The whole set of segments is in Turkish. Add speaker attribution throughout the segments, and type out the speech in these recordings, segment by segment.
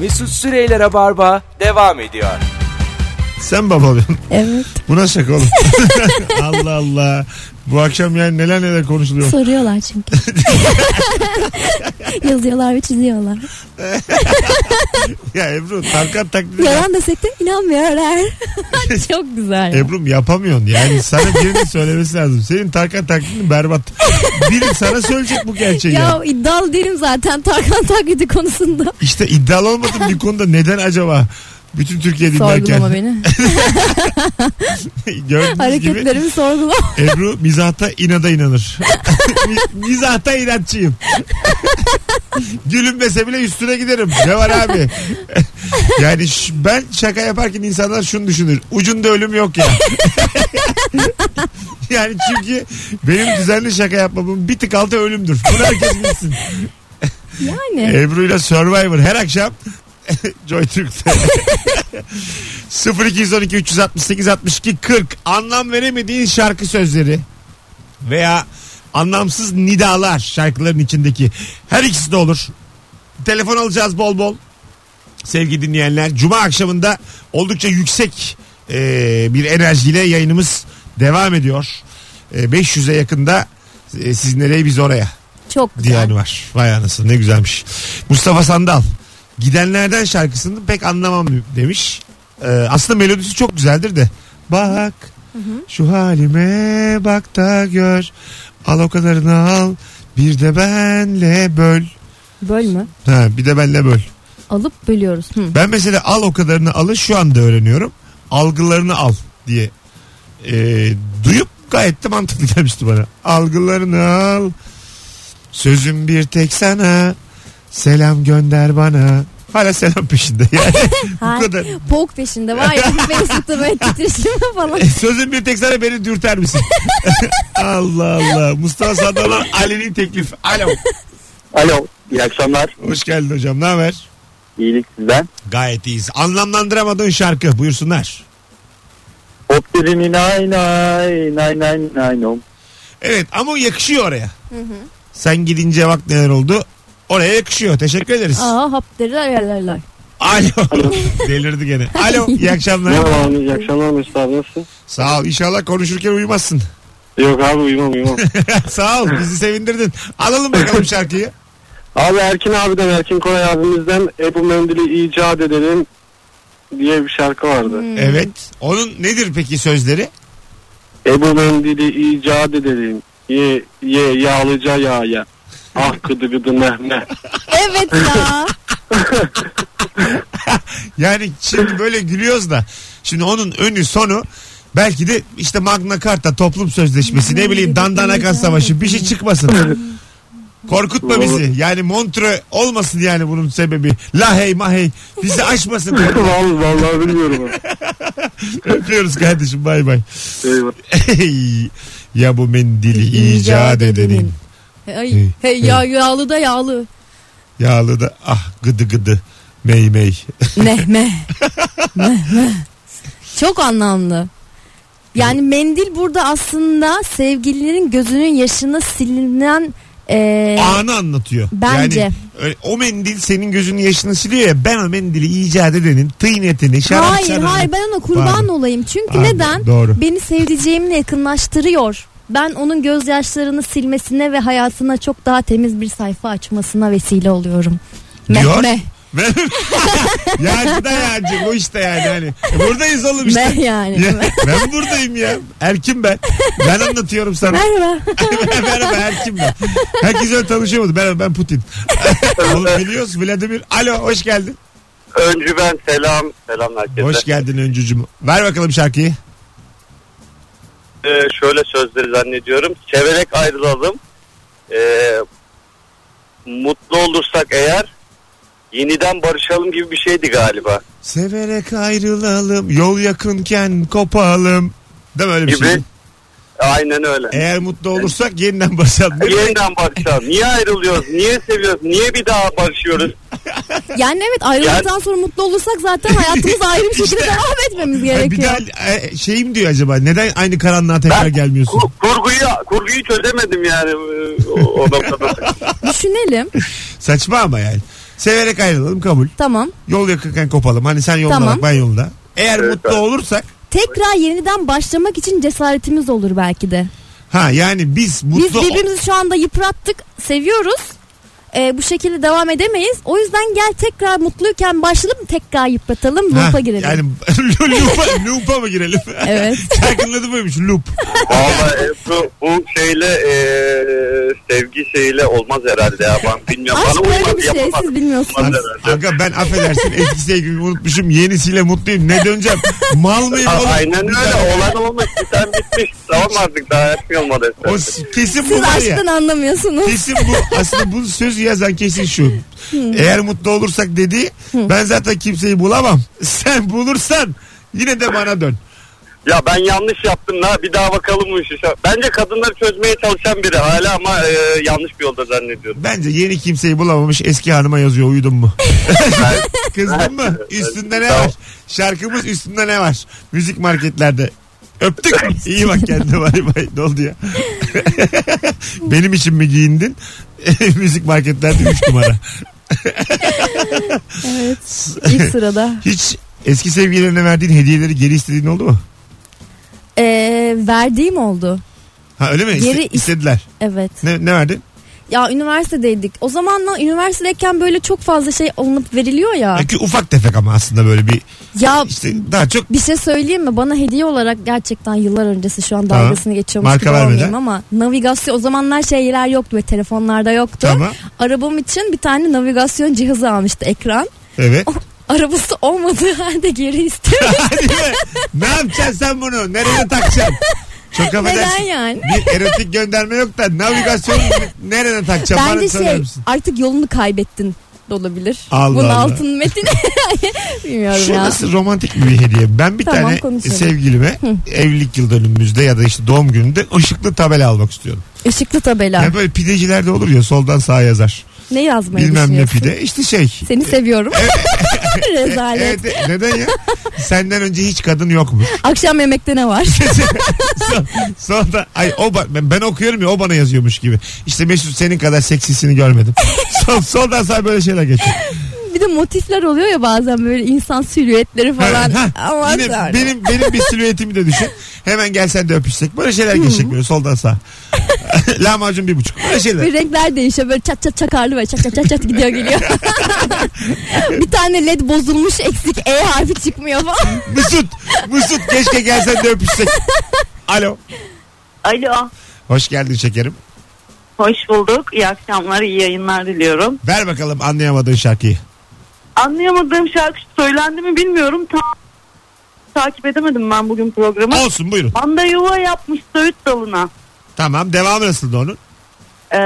Speaker 1: Mesut Süreyler'e barba devam ediyor.
Speaker 2: Sen baba ben.
Speaker 3: Evet.
Speaker 2: Bu nasıl şaka oğlum? Allah Allah. Bu akşam yani neler neler konuşuluyor.
Speaker 3: Soruyorlar çünkü. Yazıyorlar ve çiziyorlar.
Speaker 2: ya Ebru Tarkan taklidi.
Speaker 3: Yalan desek de inanmıyorlar. Çok güzel.
Speaker 2: Ebru'm yapamıyorsun yani sana birinin söylemesi lazım. Senin Tarkan taklidin berbat. Biri sana söyleyecek bu gerçeği. yani.
Speaker 3: ya iddialı değilim zaten Tarkan taklidi konusunda.
Speaker 2: İşte iddialı olmadım bir konuda neden acaba? Bütün Türkiye
Speaker 3: Sorgulama
Speaker 2: dinlerken
Speaker 3: beni.
Speaker 2: gördüğünüz gibi
Speaker 3: Hareketlerimi sorgulama.
Speaker 2: Ebru mizahta inada inanır. Mi- mizahta inatçıyım. Gülünmese bile üstüne giderim. Ne var abi? yani ş- ben şaka yaparken insanlar şunu düşünür. Ucunda ölüm yok ya. yani çünkü benim düzenli şaka yapmamın bir tık altı ölümdür. Bunu herkes bilsin.
Speaker 3: Yani.
Speaker 2: Ebru'yla Survivor her akşam Joy Türk'te. 0212 368 62 40 anlam veremediğin şarkı sözleri veya anlamsız nidalar şarkıların içindeki her ikisi de olur. Telefon alacağız bol bol. Sevgili dinleyenler Cuma akşamında oldukça yüksek e, bir enerjiyle yayınımız devam ediyor. E, 500'e yakında e, siz nereye biz oraya
Speaker 3: Çok güzel.
Speaker 2: diyen var. Vay anasını ne güzelmiş. Mustafa Sandal gidenlerden şarkısını pek anlamam demiş. Ee, aslında melodisi çok güzeldir de. Bak şu halime bak da gör. Al o kadarını al. Bir de benle böl.
Speaker 3: Böl mü?
Speaker 2: Ha, bir de benle böl.
Speaker 3: Alıp bölüyoruz. Hı.
Speaker 2: Ben mesela al o kadarını alı şu anda öğreniyorum. Algılarını al diye. Ee, duyup gayet de mantıklı gelmişti bana. Algılarını al. Sözüm bir tek sana. Selam gönder bana. Hala selam peşinde. Yani
Speaker 3: Ha,
Speaker 2: bu kadar.
Speaker 3: Bok peşinde var ya Facebook'ta böyle titreşime falan.
Speaker 2: e, Sözüm bir tek sana beni dürter misin? Allah Allah. Mustafa Sandal'dan Ali'nin teklifi. Alo.
Speaker 4: Alo, iyi akşamlar.
Speaker 2: Hoş geldin hocam. Ne haber?
Speaker 4: İyilik sizden.
Speaker 2: Gayet iyiyiz. Anlamlandıramadığın şarkı. Buyursunlar.
Speaker 4: Hopterini nay nay nay nay nay nom.
Speaker 2: Evet ama o yakışıyor oraya.
Speaker 3: Hı hı.
Speaker 2: Sen gidince bak neler oldu. Oraya yakışıyor. Teşekkür ederiz.
Speaker 3: Aa hop derler yerlerler.
Speaker 2: Alo. Delirdi gene. Alo. iyi akşamlar.
Speaker 4: Merhaba abi, iyi akşamlar Mesut abi nasılsın?
Speaker 2: Sağ ol. İnşallah konuşurken uyumazsın.
Speaker 4: Yok abi uyumam uyumam.
Speaker 2: Sağ ol. Bizi sevindirdin. Alalım bakalım şarkıyı.
Speaker 4: abi Erkin abiden, Erkin Koray abimizden Ebu Mendil'i icat edelim diye bir şarkı vardı.
Speaker 2: Evet. Onun nedir peki sözleri?
Speaker 4: Ebu Mendil'i icat edelim. Ye ye yağlıca ya ya. Ah gıdı gıdı meh meh.
Speaker 3: Evet ya.
Speaker 2: Yani şimdi böyle gülüyoruz da. Şimdi onun önü sonu belki de işte Magna Carta toplum sözleşmesi ne bileyim Dandanakan Savaşı bir şey çıkmasın. Korkutma bizi. Yani Montre olmasın yani bunun sebebi. Lahey mahey bizi aşmasın.
Speaker 4: vallahi, vallahi bilmiyorum.
Speaker 2: Öpüyoruz kardeşim bay bay.
Speaker 4: Eyvah.
Speaker 2: Ey, ya bu mendili icat edenin.
Speaker 3: Ay, hey ya yağlı da yağlı.
Speaker 2: Yağlı da ah gıdı gıdı mey mey.
Speaker 3: Mehme. Mehme. Çok anlamlı. Yani mendil burada aslında sevgililerin gözünün yaşına silinen e,
Speaker 2: Anı anlatıyor.
Speaker 3: Bence.
Speaker 2: Yani, öyle- o mendil senin gözünün yaşını siliyor ya ben o mendili icat edenin tıynetini şarap
Speaker 3: hayır
Speaker 2: şarabını-
Speaker 3: hayır ben ona kurban
Speaker 2: Pardon.
Speaker 3: olayım. Çünkü
Speaker 2: Pardon,
Speaker 3: neden?
Speaker 2: Doğru.
Speaker 3: Beni sevdiceğimle yakınlaştırıyor. Ben onun gözyaşlarını silmesine ve hayatına çok daha temiz bir sayfa açmasına vesile oluyorum.
Speaker 2: Diyor.
Speaker 3: Mehme.
Speaker 2: yağcı da yağcı bu işte yani. Hani, buradayız oğlum işte.
Speaker 3: Meh yani.
Speaker 2: Ya, ben buradayım ya. Erkim ben. Ben anlatıyorum sana.
Speaker 3: Merhaba.
Speaker 2: Merhaba Erkin ben. Herkes öyle tanışamadı. Merhaba ben Putin. Oğlum biliyoruz Vladimir. Alo hoş geldin.
Speaker 4: Öncü ben selam. Selam herkese.
Speaker 2: Hoş geldin öncücüm. Ver bakalım şarkıyı.
Speaker 4: Ee, şöyle sözleri zannediyorum. Severek ayrılalım. Ee, mutlu olursak eğer yeniden barışalım gibi bir şeydi galiba.
Speaker 2: Severek ayrılalım. Yol yakınken kopalım. Değil mi öyle bir
Speaker 4: Gibi.
Speaker 2: şey?
Speaker 4: Aynen öyle.
Speaker 2: Eğer mutlu olursak yeniden başlayalım.
Speaker 4: yeniden barışalım. Niye ayrılıyoruz? Niye seviyoruz? Niye bir daha barışıyoruz?
Speaker 3: Yani evet ayrıldıktan sonra mutlu olursak zaten hayatımız ayrı bir şekilde devam etmemiz
Speaker 2: Ay, bir
Speaker 3: gerekiyor.
Speaker 2: daha e, şeyim diyor acaba neden aynı karanlığa tekrar
Speaker 4: Ben-
Speaker 2: gelmiyorsun?
Speaker 4: Kur- kurguyu kurguyu çözemedim yani e, o, o noktada.
Speaker 3: Düşünelim.
Speaker 2: Saçma ama yani. Severek ayrılalım kabul.
Speaker 3: Tamam.
Speaker 2: Yol yakınken kopalım. Hani sen yolda
Speaker 3: Tamam.
Speaker 2: bak ben yolda. Eğer
Speaker 4: Evet,
Speaker 2: mutlu
Speaker 4: abi.
Speaker 2: olursak
Speaker 3: Tekrar yeniden başlamak için cesaretimiz olur belki de.
Speaker 2: ha yani biz
Speaker 3: Biz
Speaker 2: mutlu
Speaker 3: birbirimizi şu anda yıprattık, seviyoruz. Ee, bu şekilde devam edemeyiz. O yüzden gel tekrar mutluyken başlayalım tekrar yıpratalım,
Speaker 2: Ha,
Speaker 3: loop'a girelim.
Speaker 2: Yani loop'a, loop'a mı girelim?
Speaker 3: Evet.
Speaker 2: Şarkının adı buymuş loop.
Speaker 4: Valla Ebru e, bu şeyle e, sevgi şeyiyle olmaz herhalde ya. Ben bilmiyorum.
Speaker 3: Aşk
Speaker 4: Bana
Speaker 3: böyle bir
Speaker 4: uymaz
Speaker 3: şey
Speaker 4: yapamaz.
Speaker 3: siz bilmiyorsunuz.
Speaker 4: Olmaz herhalde.
Speaker 2: Aga Hani ben affedersin eski sevgilimi unutmuşum yenisiyle mutluyum ne döneceğim mal mıyım
Speaker 4: A-
Speaker 2: oğlum?
Speaker 4: Aynen öyle. Olan olmuş. Sen bitmiş. Tamam artık daha yapmayalım o
Speaker 2: O
Speaker 4: destek.
Speaker 2: s- kesin bu
Speaker 3: Siz
Speaker 2: var ya.
Speaker 3: aşktan anlamıyorsunuz.
Speaker 2: Kesin bu. Aslında bu sözü yazan kesin şu. Eğer mutlu olursak dedi ben zaten kimseyi bulamam. Sen bulursan yine de bana dön.
Speaker 4: Ya ben yanlış yaptım la. Bir daha bakalım bu işi. Bence kadınlar çözmeye çalışan biri hala ama e, yanlış bir yolda zannediyorum.
Speaker 2: Bence yeni kimseyi bulamamış eski hanıma yazıyor uyudun mu? Kızdın mı? Üstünde ne var? Şarkımız üstünde ne var? Müzik marketlerde. Öptük. İyi bak kendine bay bay. Ne oldu ya? Benim için mi giyindin? Müzik marketlerde 3 numara.
Speaker 3: evet. İlk sırada.
Speaker 2: Hiç eski sevgililerine verdiğin hediyeleri geri istediğin oldu mu?
Speaker 3: Ee, verdiğim oldu.
Speaker 2: Ha öyle mi? İste-
Speaker 3: Geri is-
Speaker 2: istediler.
Speaker 3: Evet.
Speaker 2: Ne, ne verdin?
Speaker 3: Ya üniversitedeydik. O zamanla üniversitedeyken böyle çok fazla şey alınıp veriliyor ya.
Speaker 2: Çünkü ufak tefek ama aslında böyle bir
Speaker 3: Ya
Speaker 2: E, işte daha çok
Speaker 3: bir şey söyleyeyim mi? Bana hediye olarak gerçekten yıllar öncesi şu an
Speaker 2: Tamam.
Speaker 3: dalgasını geçiyormuş
Speaker 2: Marka
Speaker 3: gibi
Speaker 2: vermeden.
Speaker 3: olmayayım ama navigasyon o zamanlar şeyler yoktu ve telefonlarda yoktu.
Speaker 2: Tamam.
Speaker 3: Arabam için bir tane navigasyon cihazı almıştı ekran.
Speaker 2: evet.
Speaker 3: Arabası olmadığı halde geri istiyor.
Speaker 2: Hadi be. ne yapacaksın sen bunu? Nereye takacaksın? Çok affedersin.
Speaker 3: Neden yani?
Speaker 2: Bir erotik gönderme yok da navigasyon nereye takacağım? Bana
Speaker 3: Bence
Speaker 2: söyler
Speaker 3: şey
Speaker 2: misin?
Speaker 3: artık yolunu kaybettin de olabilir.
Speaker 2: Allah
Speaker 3: Bunun
Speaker 2: Allah.
Speaker 3: altın metini bilmiyorum
Speaker 2: Şu
Speaker 3: ya.
Speaker 2: nasıl romantik bir hediye. Ben bir
Speaker 3: Tamam,
Speaker 2: tane
Speaker 3: konuşalım.
Speaker 2: sevgilime evlilik yıl dönümümüzde ya da işte doğum gününde ışıklı tabela almak istiyorum.
Speaker 3: Işıklı tabela.
Speaker 2: Yani böyle pidecilerde olur ya soldan sağa yazar.
Speaker 3: Ah. Ne yazmayı
Speaker 2: Bilmem ne
Speaker 3: düşünüyorsun?
Speaker 2: pide. İşte şey.
Speaker 3: Seni seviyorum. Rezalet.
Speaker 2: Evet, e, neden ya? Senden önce hiç kadın yok mu?
Speaker 3: Akşam yemekte ne var?
Speaker 2: Son- Sonra ay o ba- ben, ben okuyorum ya o bana yazıyormuş gibi. İşte Mesut senin kadar seksisini görmedim. Son, soldan sonra böyle şeyler geçiyor.
Speaker 3: bir de motifler oluyor ya bazen böyle insan silüetleri falan.
Speaker 2: Ha, ha.
Speaker 3: Ama
Speaker 2: Yine
Speaker 3: yani.
Speaker 2: benim benim bir silüetimi de düşün. Hemen gelsen de öpüşsek. Böyle şeyler geçecek böyle soldan sağa. Lahmacun bir buçuk. Böyle şeyler.
Speaker 3: Bir renkler değişiyor böyle çat çat çakarlı böyle çat çat çat çat gidiyor geliyor. bir tane led bozulmuş eksik E harfi çıkmıyor falan.
Speaker 2: Mesut. Mesut keşke gelsen de öpüşsek. Alo.
Speaker 5: Alo.
Speaker 2: Hoş geldin şekerim.
Speaker 5: Hoş bulduk. İyi akşamlar, iyi yayınlar diliyorum.
Speaker 2: Ver bakalım anlayamadığın şarkıyı.
Speaker 5: Anlayamadığım şarkı söylendi mi bilmiyorum. Ta- takip edemedim ben bugün programı.
Speaker 2: Olsun buyurun.
Speaker 5: Manda yuva yapmış Söğüt dalına.
Speaker 2: Tamam devamı nasıldı onun?
Speaker 5: Ee,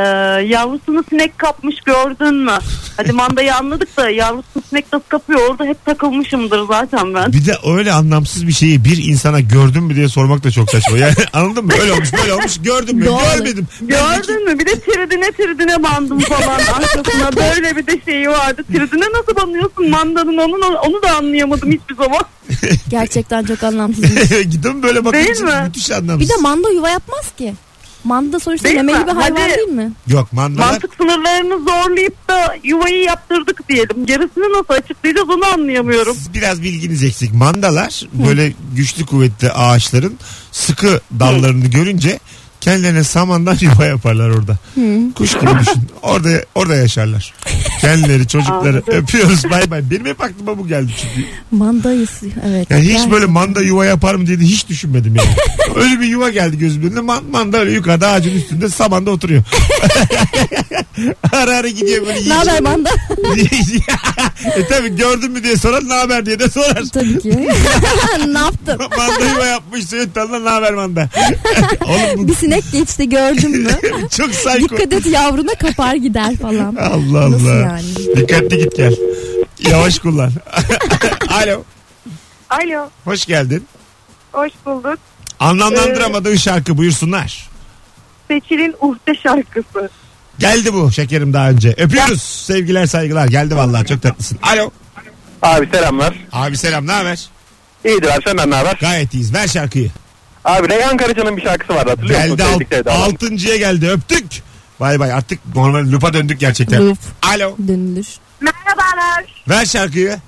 Speaker 5: yavrusunu sinek kapmış gördün mü? Hadi mandayı anladık da yavrusunu sinek nasıl kapıyor orada hep takılmışımdır zaten ben.
Speaker 2: Bir de öyle anlamsız bir şeyi bir insana gördün mü diye sormak da çok saçma. Yani anladın mı? Öyle olmuş böyle olmuş. Gördün mü?
Speaker 3: Doğru.
Speaker 2: Görmedim.
Speaker 5: Gördün mü? Bir de tiridine tiridine bandım falan arkasına. Böyle bir de şeyi vardı. Tiridine nasıl banıyorsun mandanın? Onun, onu da anlayamadım hiçbir zaman.
Speaker 3: Gerçekten çok anlamsız.
Speaker 2: Gidin böyle
Speaker 5: Değil
Speaker 2: bakınca
Speaker 5: mi?
Speaker 2: müthiş
Speaker 3: Bir
Speaker 2: anlamsız.
Speaker 3: de manda yuva yapmaz ki. Manda sonuçta
Speaker 5: Değil
Speaker 3: memeli
Speaker 5: mi?
Speaker 3: bir hayvan
Speaker 5: Hadi.
Speaker 3: değil mi?
Speaker 2: Yok mandalar.
Speaker 5: Mantık sınırlarını zorlayıp da yuvayı yaptırdık diyelim. Gerisini nasıl açıklayacağız onu anlayamıyorum.
Speaker 2: Siz Biraz bilginiz eksik. Mandalar böyle güçlü kuvvetli ağaçların sıkı dallarını görünce kendilerine samandan yuva yaparlar orada. Kuş gibi düşün. Orada orada yaşarlar. Kendileri çocukları
Speaker 5: Anladım.
Speaker 2: öpüyoruz bay bay. Benim hep aklıma bu geldi çünkü.
Speaker 3: Mandayız. Evet.
Speaker 2: Yani hiç
Speaker 3: Gerçekten.
Speaker 2: böyle manda yuva yapar mı diye de hiç düşünmedim yani. öyle bir yuva geldi gözümün önüne. Man- manda öyle yukarıda ağacın üstünde samanda oturuyor. ara ara gidiyor böyle.
Speaker 3: Ne haber manda?
Speaker 2: e tabi gördün mü diye sorar ne haber diye de sorar.
Speaker 3: Tabii ki. ne yaptın?
Speaker 2: manda yuva yapmış Söğüt Dal'da ne haber manda. Oğlum
Speaker 3: Bir sinek geçti gördün mü?
Speaker 2: bu çok sayko.
Speaker 3: Dikkat et yavruna kapar gider falan.
Speaker 2: Allah Allah.
Speaker 3: Nasıl yani?
Speaker 2: Dikkatli git gel. Yavaş kullan. Alo.
Speaker 5: Alo,
Speaker 2: Hoş geldin.
Speaker 5: hoş bulduk.
Speaker 2: Anlamlandıramadığın şarkı buyursunlar.
Speaker 5: Seçil'in Uhde şarkısı.
Speaker 2: Geldi bu şekerim daha önce. Öpüyoruz. Sevgiler saygılar. Geldi vallahi çok tatlısın. Alo.
Speaker 4: Abi selamlar.
Speaker 2: Abi selam ne haber?
Speaker 4: İyidir abi senden ne haber?
Speaker 2: Gayet iyiyiz. Ver şarkıyı.
Speaker 4: Abi Reyhan Karaca'nın bir şarkısı vardı hatırlıyor musun?
Speaker 2: Geldi
Speaker 4: Sevdik
Speaker 2: alt,
Speaker 4: Sevdalar.
Speaker 2: altıncıya geldi. Öptük. Bay bay artık normal lupa döndük gerçekten.
Speaker 3: Lup.
Speaker 2: Alo.
Speaker 3: Dönülür.
Speaker 6: Merhabalar.
Speaker 2: Ver şarkıyı.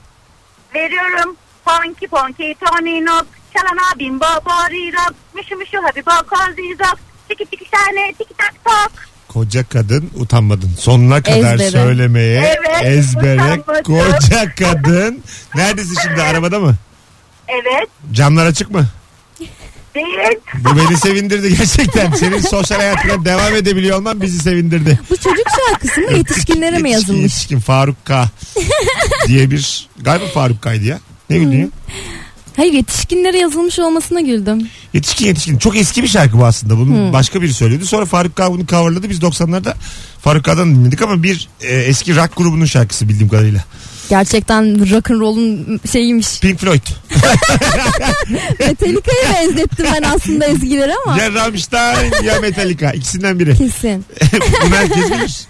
Speaker 6: Veriyorum. Ponki ponki Tony Nok. Çalana bimbo bori rock. Mışı mışı habibo kozi rock. Tiki tiki şahane tiki tak tok.
Speaker 2: Koca kadın utanmadın. Sonuna kadar
Speaker 3: Ezbere.
Speaker 2: söylemeye
Speaker 6: Evet,
Speaker 2: ezbere
Speaker 6: utanmadım.
Speaker 2: koca kadın. Neredesin şimdi arabada mı?
Speaker 6: Evet.
Speaker 2: Camlar açık mı?
Speaker 6: Değil.
Speaker 2: Bu beni sevindirdi gerçekten. Senin sosyal hayatına devam edebiliyor olman bizi sevindirdi.
Speaker 3: Bu çocuk şarkısı mı yetişkinlere
Speaker 2: Yetişkin,
Speaker 3: mi yazılmış?
Speaker 2: Yetişkin Faruk K. diye bir galiba Faruk K'ydı ya. Ne bileyim.
Speaker 3: Hmm. Hayır yetişkinlere yazılmış olmasına güldüm.
Speaker 2: Yetişkin yetişkin. Çok eski bir şarkı bu aslında. Bunu
Speaker 3: Hmm.
Speaker 2: başka biri söylüyordu. Sonra Faruk K bunu coverladı. Biz 90'larda Faruk K'dan dinledik ama bir e, eski rock grubunun şarkısı bildiğim kadarıyla.
Speaker 3: Gerçekten rock'n'roll'un şeyiymiş.
Speaker 2: Pink Floyd.
Speaker 3: Metallica'ya benzettim ben aslında ezgileri ama.
Speaker 2: Ya Rammstein ya Metallica. İkisinden biri.
Speaker 3: Kesin.
Speaker 2: Bunu herkes bilir.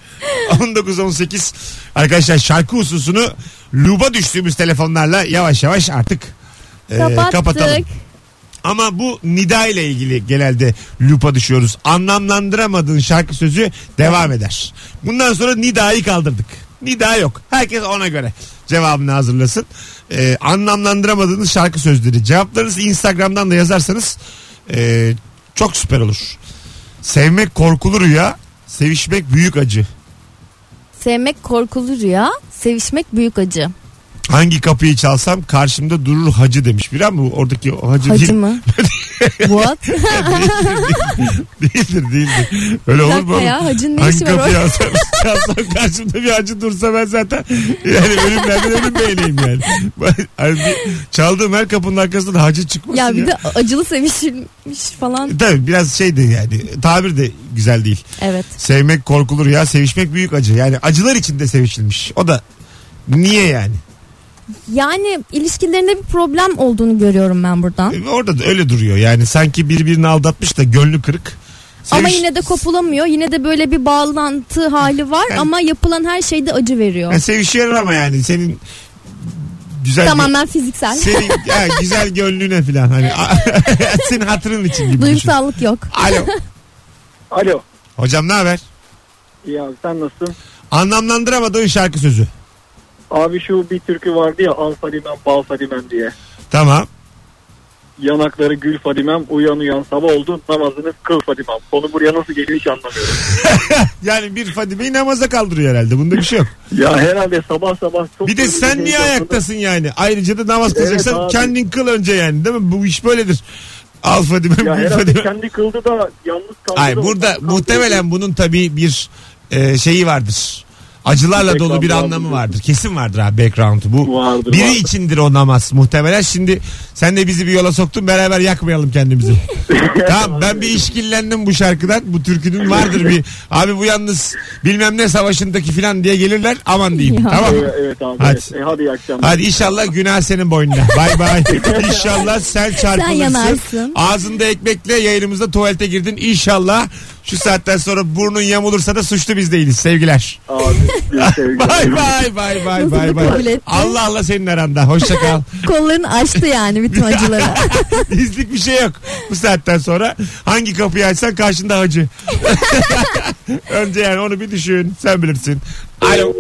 Speaker 2: 19-18 arkadaşlar şarkı hususunu luba düştüğümüz telefonlarla yavaş yavaş artık e,
Speaker 3: Kapattık.
Speaker 2: kapatalım. Ama bu nida ile ilgili genelde lupa düşüyoruz. Anlamlandıramadığın şarkı sözü devam eder. Bundan sonra nidayı kaldırdık. Nida yok. Herkes ona göre cevabını hazırlasın. Ee, anlamlandıramadığınız şarkı sözleri. Cevaplarınızı Instagram'dan da yazarsanız e, çok süper olur. Sevmek korkulu rüya, sevişmek büyük acı.
Speaker 3: Sevmek korkulu rüya, sevişmek büyük acı.
Speaker 2: Hangi kapıyı çalsam karşımda durur hacı demiş biri ama oradaki o hacı,
Speaker 3: Hacı
Speaker 2: değil.
Speaker 3: mı? What?
Speaker 2: değildir değildir. Öyle olur mu?
Speaker 3: dakika ya,
Speaker 2: oğlum?
Speaker 3: hacın ne
Speaker 2: Hangi
Speaker 3: işi var
Speaker 2: kapıyı
Speaker 3: orada?
Speaker 2: alsam, alsam karşımda bir hacı dursa ben zaten yani ölümlerden ölüm beyleyim yani. yani bir, çaldığım her kapının arkasından hacı çıkmasın ya. E,
Speaker 3: ya bir de acılı sevişilmiş falan.
Speaker 2: Tabii biraz şeydi yani tabir de güzel değil.
Speaker 3: Evet.
Speaker 2: Sevmek korkulur ya sevişmek büyük acı. Yani acılar içinde sevişilmiş. O da niye yani?
Speaker 3: Yani ilişkilerinde bir problem olduğunu görüyorum ben buradan.
Speaker 2: E, Orada da öyle duruyor yani sanki birbirini aldatmış da gönlü kırık.
Speaker 3: Ama
Speaker 2: Seviş-
Speaker 3: yine de kopulamıyor. Yine de böyle bir bağlantı hali var
Speaker 2: Yani-
Speaker 3: ama yapılan her şeyde acı veriyor.
Speaker 2: Yani sevişiyorlar ama yani senin güzel bir- şey
Speaker 3: Tamamen fiziksel.
Speaker 2: Senin ya, güzel gönlüne falan hani senin hatırın için gibi düşün.
Speaker 3: Duygusallık yok.
Speaker 2: Alo.
Speaker 7: Alo.
Speaker 2: Hocam ne haber?
Speaker 7: İyi abi sen nasılsın?
Speaker 2: Anlamlandıramadığın şarkı sözü.
Speaker 7: Abi şu bir türkü vardı ya al Fadimen bal Fadimen diye.
Speaker 2: Tamam.
Speaker 7: Yanakları gül Fadimen uyan uyan sabah oldu namazını kıl Fadimen. Konu buraya nasıl geliyor hiç anlamıyorum.
Speaker 2: Yani bir Fadime'yi namaza kaldırıyor herhalde. Bunda bir şey yok.
Speaker 7: ya herhalde sabah sabah çok...
Speaker 2: Bir de sen niye ayaktasın yani? Ayrıca da namaz
Speaker 7: Evet
Speaker 2: kılacaksan
Speaker 7: abi.
Speaker 2: kendin kıl önce yani değil mi? Bu iş böyledir. Al Fadime,
Speaker 7: Ya
Speaker 2: bul
Speaker 7: herhalde
Speaker 2: Fadime.
Speaker 7: kendi kıldı da yalnız kaldı.
Speaker 2: Ay
Speaker 7: da
Speaker 2: burada
Speaker 7: ondan kaldı.
Speaker 2: muhtemelen bunun tabii bir e, şeyi vardır. Acılarla dolu bir
Speaker 7: Background
Speaker 2: anlamı
Speaker 7: vardır.
Speaker 2: vardır. Kesin vardır abi background'u. Bu
Speaker 7: Vardır,
Speaker 2: biri
Speaker 7: vardır.
Speaker 2: içindir o namaz muhtemelen. Şimdi sen de bizi bir yola soktun beraber yakmayalım kendimizi. tamam ben bir işkillendim bu şarkıdan. Bu türkünün vardır bir. Abi bu yalnız bilmem ne savaşındaki filan diye gelirler. Aman diyeyim.
Speaker 3: Ya.
Speaker 2: Tamam
Speaker 7: Evet, evet abi.
Speaker 2: Ah. Hadi.
Speaker 7: Hadi. Evet. E, hadi iyi akşamlar.
Speaker 2: Hadi inşallah günah senin boynuna. Bay bay. İnşallah sen çarpılırsın.
Speaker 3: yanarsın.
Speaker 2: Ağzında ekmekle yayınımızda tuvalete girdin. İnşallah şu saatten sonra burnun yamulursa da suçlu biz değiliz. Sevgiler.
Speaker 7: Abi, bir sevgiler.
Speaker 2: Bay bay bay bay
Speaker 3: Nasıl
Speaker 2: bay
Speaker 3: da kabul
Speaker 2: bay.
Speaker 3: etti?
Speaker 2: Allah Allah senin aranda. Hoşça kal.
Speaker 3: Kollarını açtı yani bütün acıları.
Speaker 2: İzlik bir şey yok. Bu saatten sonra hangi kapıyı açsan karşında hacı. Önce yani onu bir düşün. Sen bilirsin. Alo.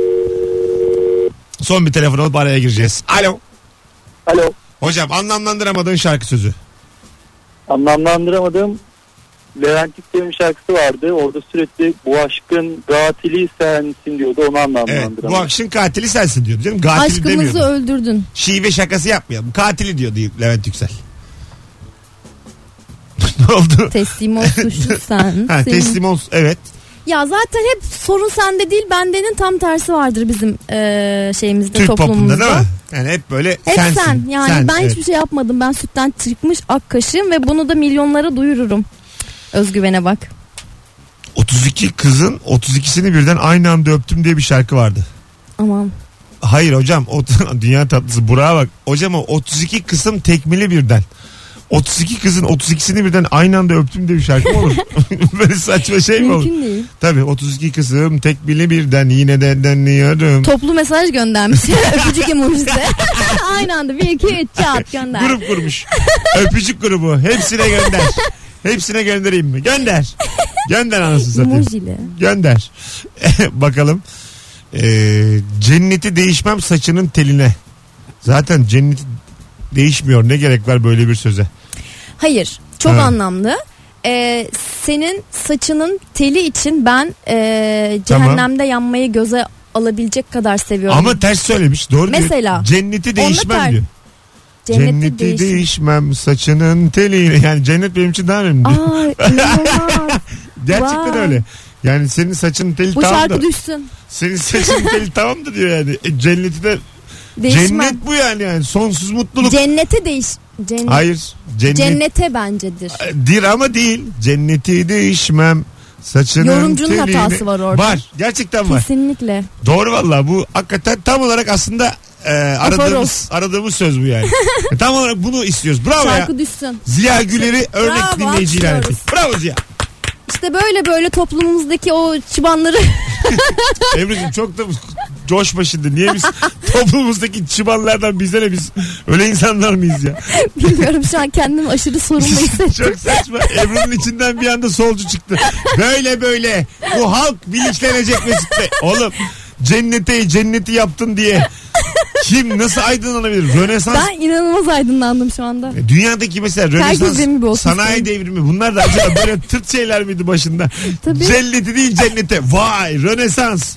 Speaker 2: Son bir telefon alıp araya gireceğiz. Alo.
Speaker 7: Alo.
Speaker 2: Hocam anlamlandıramadığın şarkı sözü.
Speaker 7: Anlamlandıramadığım Levent İpek'in şarkısı vardı. Orada sürekli bu aşkın katili sensin diyordu. Onu
Speaker 2: Evet,
Speaker 7: anlamlandıramadım.
Speaker 2: bu akşın katili sensin diyordu canım. Katili
Speaker 3: Aşkımızı
Speaker 2: demiyordu.
Speaker 3: öldürdün.
Speaker 2: Şive şakası yapmayalım. Katili diyordu Levent Yüksel. ne oldu?
Speaker 3: Teslim ol suçlu sen.
Speaker 2: Ha,
Speaker 3: Senin-
Speaker 2: teslim ol. Evet.
Speaker 3: Ya zaten hep sorun sende değil bendenin tam tersi vardır bizim eee, şeyimizde
Speaker 2: Türk
Speaker 3: toplumumuzda.
Speaker 2: popunda değil mi? Yani hep böyle
Speaker 3: Hep
Speaker 2: sensin.
Speaker 3: sen yani
Speaker 2: sen,
Speaker 3: ben
Speaker 2: evet.
Speaker 3: hiçbir şey yapmadım ben sütten çıkmış ak kaşığım ve bunu da milyonlara duyururum. Özgüvene bak.
Speaker 2: 32 kızın 32'sini birden aynı anda öptüm diye bir şarkı vardı.
Speaker 3: Aman
Speaker 2: Hayır hocam o, dünya tatlısı Burak'a bak. Hocam o 32 kısım tekmili birden. 32 kızın 32'sini birden aynı anda öptüm diye bir şarkı mı olur? Böyle saçma şey mi olur?
Speaker 3: Mümkün değil.
Speaker 2: Tabii 32 kızım tek bile birden yine de denliyorum.
Speaker 3: Toplu mesaj göndermiş. Öpücük emojisi. Aynı anda bir iki üç çat gönder.
Speaker 2: Grup kurmuş. Öpücük grubu. Hepsine gönder. Hepsine göndereyim mi? Gönder. Gönder anasını satayım.
Speaker 3: Emojili.
Speaker 2: Gönder. Bakalım. Ee, cenneti değişmem saçının teline. Zaten cenneti değişmiyor. Ne gerek var böyle bir söze?
Speaker 3: Hayır. Çok
Speaker 2: Ha.
Speaker 3: anlamlı. Ee, senin saçının teli için ben e,
Speaker 2: Tamam.
Speaker 3: cehennemde yanmayı göze alabilecek kadar seviyorum.
Speaker 2: Ama ters söylemiş. Doğru diyor.
Speaker 3: Mesela.
Speaker 2: Cenneti değişmem
Speaker 3: ter-
Speaker 2: diyor.
Speaker 3: Cenneti,
Speaker 2: Cenneti
Speaker 3: değiş-
Speaker 2: değişmem saçının teline. Yani cennet benim için daha önemli.
Speaker 3: Aa, inanılmaz.
Speaker 2: Gerçekten
Speaker 3: vay.
Speaker 2: öyle. Yani senin saçının teli
Speaker 3: Bu
Speaker 2: tamam da.
Speaker 3: şarkı düşsün.
Speaker 2: Senin saçının teli tamam da diyor yani. E, cenneti de
Speaker 3: Değişmem.
Speaker 2: Cennet bu yani yani sonsuz mutluluk.
Speaker 3: Cennete değiş. Cennet.
Speaker 2: Hayır. Cennet,
Speaker 3: Cennete bencedir.
Speaker 2: dir ama E, değil. Cenneti değişmem. Saçının
Speaker 3: Yorumcunun
Speaker 2: teline-
Speaker 3: hatası var orada.
Speaker 2: Var. Gerçekten var.
Speaker 3: Kesinlikle.
Speaker 2: Doğru valla bu hakikaten tam olarak aslında e, aradığımız
Speaker 3: Afaroz.
Speaker 2: aradığımız söz bu yani. E, tam olarak bunu istiyoruz. Bravo ya.
Speaker 3: Şarkı düşsün.
Speaker 2: Ziya Güler'i örnek
Speaker 3: Bravo,
Speaker 2: dinleyici ilan ettik.
Speaker 3: alkışlıyoruz.
Speaker 2: Bravo Ziya.
Speaker 3: İşte böyle böyle toplumumuzdaki o çıbanları
Speaker 2: Emre'cim çok da coşma şimdi. Niye biz toplumumuzdaki çıbanlardan bize ne biz öyle insanlar mıyız ya?
Speaker 3: bilmiyorum şu an kendimi aşırı sorumlu hissediyorum.
Speaker 2: Çok saçma. Ebru'nun içinden bir anda solcu çıktı. Böyle böyle. Bu halk bilinçlenecek Mesut Bey. Oğlum cennete cenneti yaptın diye. Kim nasıl aydınlanabilir? Rönesans.
Speaker 3: Ben inanılmaz aydınlandım şu anda.
Speaker 2: Dünyadaki mesela
Speaker 3: Herkes
Speaker 2: Rönesans,
Speaker 3: zengin bir olsun
Speaker 2: sanayi devrimi bunlar da acaba böyle tırt şeyler miydi başında?
Speaker 3: Tabii.
Speaker 2: Cenneti değil cennete. Vay Rönesans.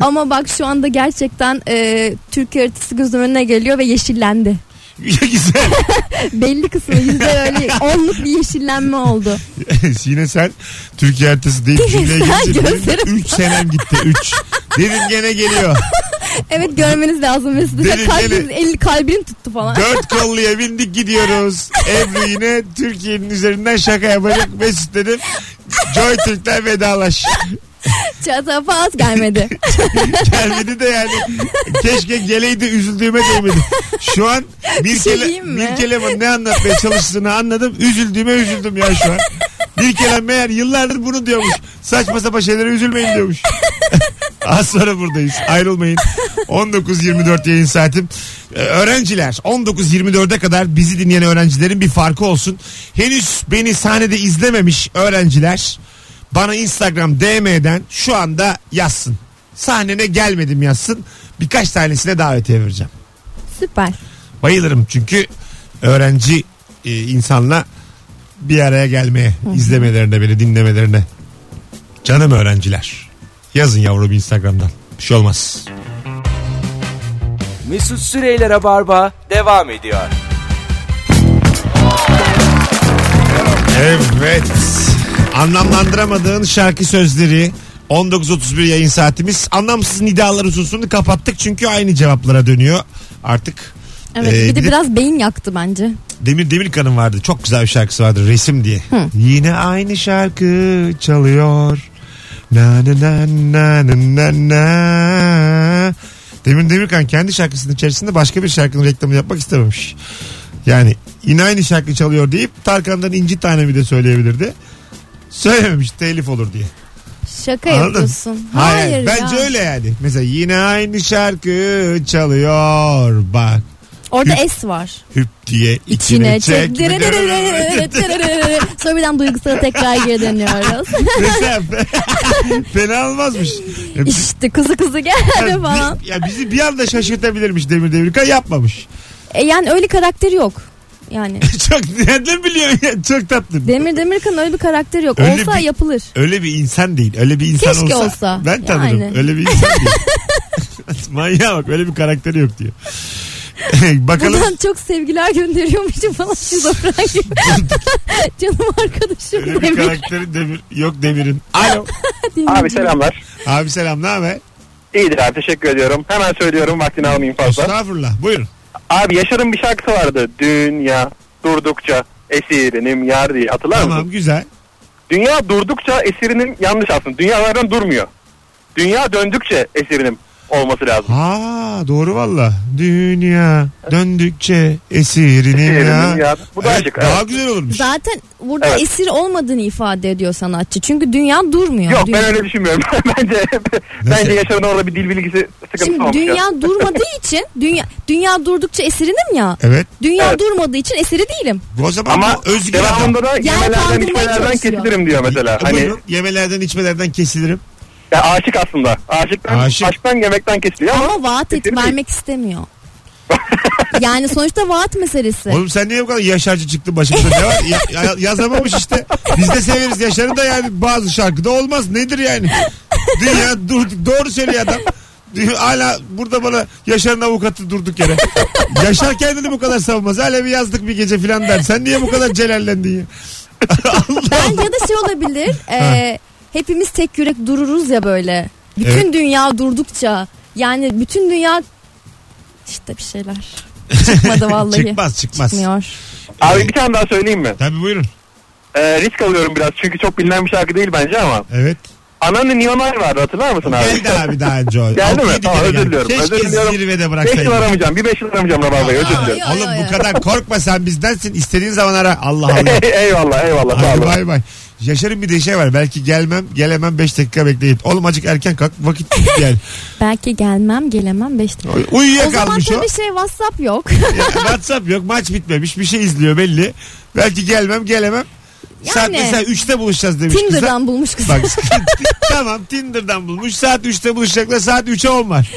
Speaker 3: Ama bak şu anda gerçekten e, Türk haritası gözümün önüne geliyor ve yeşillendi.
Speaker 2: Güzel.
Speaker 3: Belli kısmı yüzde öyle onluk bir yeşillenme oldu.
Speaker 2: Yine sen Türkiye haritası deyip cümleye
Speaker 3: Sen
Speaker 2: geçirdin.
Speaker 3: gözlerim-
Speaker 2: 3 senem gitti 3. Dedim gene geliyor.
Speaker 3: Evet görmeniz lazım Mesut'un
Speaker 2: Deli,
Speaker 3: kalbin,
Speaker 2: deli.
Speaker 3: el kalbini tuttu falan.
Speaker 2: Dört kolluya bindik gidiyoruz. Ebru yine Türkiye'nin üzerinden şaka yapacak. Mesut dedim. Joy Türk'ten vedalaş.
Speaker 3: Çatapaz gelmedi.
Speaker 2: Gelmedi de yani. Keşke geleydi üzüldüğüme değmedi. Şu an bir,
Speaker 3: şey
Speaker 2: kele,
Speaker 3: diyeyim mi?
Speaker 2: bir kelam ne anlatmaya çalıştığını anladım. Üzüldüğüme üzüldüm ya şu an. Bir kelam meğer yıllardır bunu diyormuş. Saçma sapan şeylere üzülmeyin diyormuş. Az sonra buradayız. Ayrılmayın. 19.24 yayın saatim. Ee, öğrenciler 19.24'e kadar bizi dinleyen öğrencilerin bir farkı olsun. Henüz beni sahnede izlememiş öğrenciler bana Instagram DM'den şu anda yazsın. Sahnene gelmedim yazsın. Birkaç tanesine davetiye vereceğim.
Speaker 3: Süper.
Speaker 2: Bayılırım çünkü öğrenci e, insanla bir araya gelmeye, izlemelerine, beni dinlemelerine. Canım öğrenciler. Yazın yavrum Instagram'dan. Bir şey olmaz.
Speaker 1: Mesut Süreyler'e barba devam ediyor.
Speaker 2: Evet. Anlamlandıramadığın şarkı sözleri 19.31 yayın saatimiz. Anlamsız nidalar hususunu kapattık çünkü aynı cevaplara dönüyor artık.
Speaker 3: Evet
Speaker 2: Ee,
Speaker 3: bir de
Speaker 2: bir de-
Speaker 3: biraz beyin yaktı bence.
Speaker 2: Demir Demirkan'ın vardı. Çok güzel bir şarkısı vardı. Resim diye. Yine aynı şarkı çalıyor. Na na na na na na na. Demir Demirkan kendi şarkısının içerisinde başka bir şarkının reklamını yapmak istememiş. Yani yine aynı şarkı çalıyor deyip Tarkan'dan inci tanemi de söyleyebilirdi. Söylememiş telif olur diye.
Speaker 3: Şaka yapıyorsun.
Speaker 2: Hayır,
Speaker 3: Hayır,
Speaker 2: bence
Speaker 3: ya.
Speaker 2: öyle yani. Mesela yine aynı şarkı çalıyor bak
Speaker 3: Orada S var.
Speaker 2: hüp diye içine,
Speaker 3: İçine
Speaker 2: çek.
Speaker 3: çek. Sonra birden duygusala tekrar geri dönüyoruz.
Speaker 2: Mesela fena olmazmış. Ya biz-
Speaker 3: işte kızı kızı geldi
Speaker 2: ya
Speaker 3: falan.
Speaker 2: bi- ya bizi bir anda şaşırtabilirmiş Demir Demirkan yapmamış.
Speaker 3: E yani öyle karakteri yok. Yani
Speaker 2: Çok nereden biliyorsun ya? Çok tatlı.
Speaker 3: Demir Demirkan'ın öyle bir karakteri yok.
Speaker 2: Öyle
Speaker 3: Olsa
Speaker 2: bir-
Speaker 3: yapılır.
Speaker 2: Öyle bir insan değil. Öyle bir insan
Speaker 3: Keşke olsa.
Speaker 2: Ben tanırım.
Speaker 3: Yani.
Speaker 2: Öyle bir insan değil. Manyağa bak öyle bir karakteri yok diyor. Bakalım.
Speaker 3: Buradan çok sevgiler gönderiyormuşum falan şizofren gibi. Canım arkadaşım
Speaker 2: Öyle bir
Speaker 3: Demir.
Speaker 2: karakteri demir. Yok demirin. Alo.
Speaker 4: Abi selamlar.
Speaker 2: Abi selam ne haber?
Speaker 4: İyidir abi teşekkür ediyorum. Hemen söylüyorum vaktini almayayım fazla.
Speaker 2: Estağfurullah. Buyurun.
Speaker 4: Abi Yaşar'ın bir şarkısı vardı. Dünya durdukça esirinim yar diye. Hatırlar
Speaker 2: Tamam
Speaker 4: mısın?
Speaker 2: güzel.
Speaker 4: Dünya durdukça esirinim yanlış aslında. Dünya zaten durmuyor. Dünya döndükçe esirinim. olması lazım.
Speaker 2: Ha doğru valla. Dünya döndükçe esirin
Speaker 4: Şiirinin
Speaker 2: ya.
Speaker 4: ya. Bu da
Speaker 2: Evet,
Speaker 4: açık.
Speaker 2: daha güzel olurmuş.
Speaker 3: Zaten burada
Speaker 4: Evet.
Speaker 3: esir olmadığını ifade ediyor sanatçı. Çünkü dünya durmuyor.
Speaker 4: Yok
Speaker 3: dünya...
Speaker 4: ben öyle düşünmüyorum. bence bence Yaşar'ın orada bir dil bilgisi sıkıntısı
Speaker 3: Şimdi
Speaker 4: olmuş.
Speaker 3: dünya durmadığı için dünya dünya durdukça esirinim ya.
Speaker 2: Evet.
Speaker 3: Dünya
Speaker 4: Evet.
Speaker 3: durmadığı için esiri değilim.
Speaker 2: O zaman
Speaker 4: Ama
Speaker 2: bu özgür adam.
Speaker 4: devamında da yemelerden
Speaker 3: kaldırmaya
Speaker 4: içmelerden
Speaker 3: çalışıyor.
Speaker 4: kesilirim diyor mesela. Hani
Speaker 2: Buyurun, yemelerden içmelerden kesilirim.
Speaker 4: ya aşık aslında. Aşıktan,
Speaker 2: Aşık.
Speaker 4: aşktan yemekten kesiliyor ama.
Speaker 3: Ama vaat et
Speaker 4: esir değil.
Speaker 3: vermek istemiyor. yani sonuçta vaat meselesi.
Speaker 2: Oğlum sen niye bu kadar yaşarcı çıktın başımıza? ne var? Ya- ya- yazamamış işte. Biz de severiz yaşarı da yani bazı şarkıda olmaz. Nedir yani? Dünya durduk. Doğru söylüyor adam. Dünya- Hala burada bana Yaşar'ın avukatı durduk yere. Yaşar kendini bu kadar savunmaz. Hala bir yazdık bir gece filan der. Sen niye bu kadar celallendin ya? Allah
Speaker 3: Ben ya da şey olabilir. e, hepimiz tek yürek dururuz ya böyle. Bütün
Speaker 2: Evet.
Speaker 3: dünya durdukça yani bütün dünya işte bir şeyler çıkmadı vallahi.
Speaker 2: Çıkmaz çıkmaz.
Speaker 3: Çıkmıyor.
Speaker 4: Abi bir tane daha söyleyeyim mi?
Speaker 2: Tabii buyurun.
Speaker 4: Ee, risk alıyorum biraz çünkü çok bilinen bir şarkı değil bence ama.
Speaker 2: Evet.
Speaker 4: Ananı Niyonay vardı hatırlar mısın abi?
Speaker 2: Geldi abi daha önce. o.
Speaker 4: Geldi mi?
Speaker 2: Altı, yedi
Speaker 4: Tamam,
Speaker 2: kere
Speaker 4: özür
Speaker 2: geldi.
Speaker 4: diliyorum,
Speaker 2: Keşke
Speaker 4: özür diliyorum.
Speaker 2: zirvede
Speaker 4: 5 yıl
Speaker 2: bıraksaydın.
Speaker 4: aramayacağım. Bir 5 yıl aramayacağım Rabar Bey. Özür dilerim.
Speaker 3: Ay, ay,
Speaker 2: Oğlum
Speaker 3: ay,
Speaker 2: bu
Speaker 3: ay.
Speaker 2: kadar korkma sen bizdensin. İstediğin zaman ara. Allah Allah.
Speaker 4: eyvallah eyvallah. Sağ
Speaker 2: Hadi
Speaker 4: olun.
Speaker 2: bay bay. Yaşar'ın bir de şey var. Belki gelmem, gelemem 5 dakika bekleyin. Oğlum acık erken kalk vakit yani.
Speaker 3: Belki gelmem gelemem 5 dakika. O zaman
Speaker 2: Uyuyakalmış o.
Speaker 3: tabii şey WhatsApp yok.
Speaker 2: Ya, WhatsApp yok, maç bitmemiş. Bir şey izliyor belli. Belki gelmem, gelemem. Saat
Speaker 3: Yani.
Speaker 2: mesela 3'te buluşacağız demiş kıza.
Speaker 3: Tinder'dan bulmuş kız.
Speaker 2: Bak tamam Tinder'dan bulmuş. Saat 3'te buluşacaklar. Saat 3'e 10 var.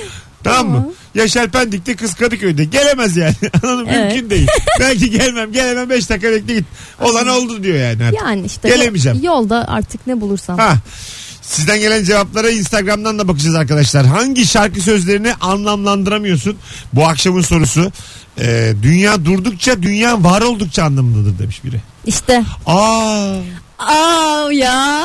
Speaker 2: Tamam mı? Yaşar Pendik'te kız Kadıköy'de. Gelemez yani. Anladın mı?
Speaker 3: Evet.
Speaker 2: Mümkün değil. Belki gelmem. Gelemem 5 dakika bekle git. Olan oldu diyor yani. artık.
Speaker 3: Yani işte
Speaker 2: Gelemeyeceğim.
Speaker 3: yo- yolda artık ne bulursam.
Speaker 2: Ha. Sizden gelen cevaplara Instagram'dan da bakacağız arkadaşlar. Hangi şarkı sözlerini anlamlandıramıyorsun? Bu akşamın sorusu. Ee, dünya durdukça, dünya var oldukça anlamındadır demiş biri.
Speaker 3: İşte.
Speaker 2: Aa,
Speaker 3: Aa ya.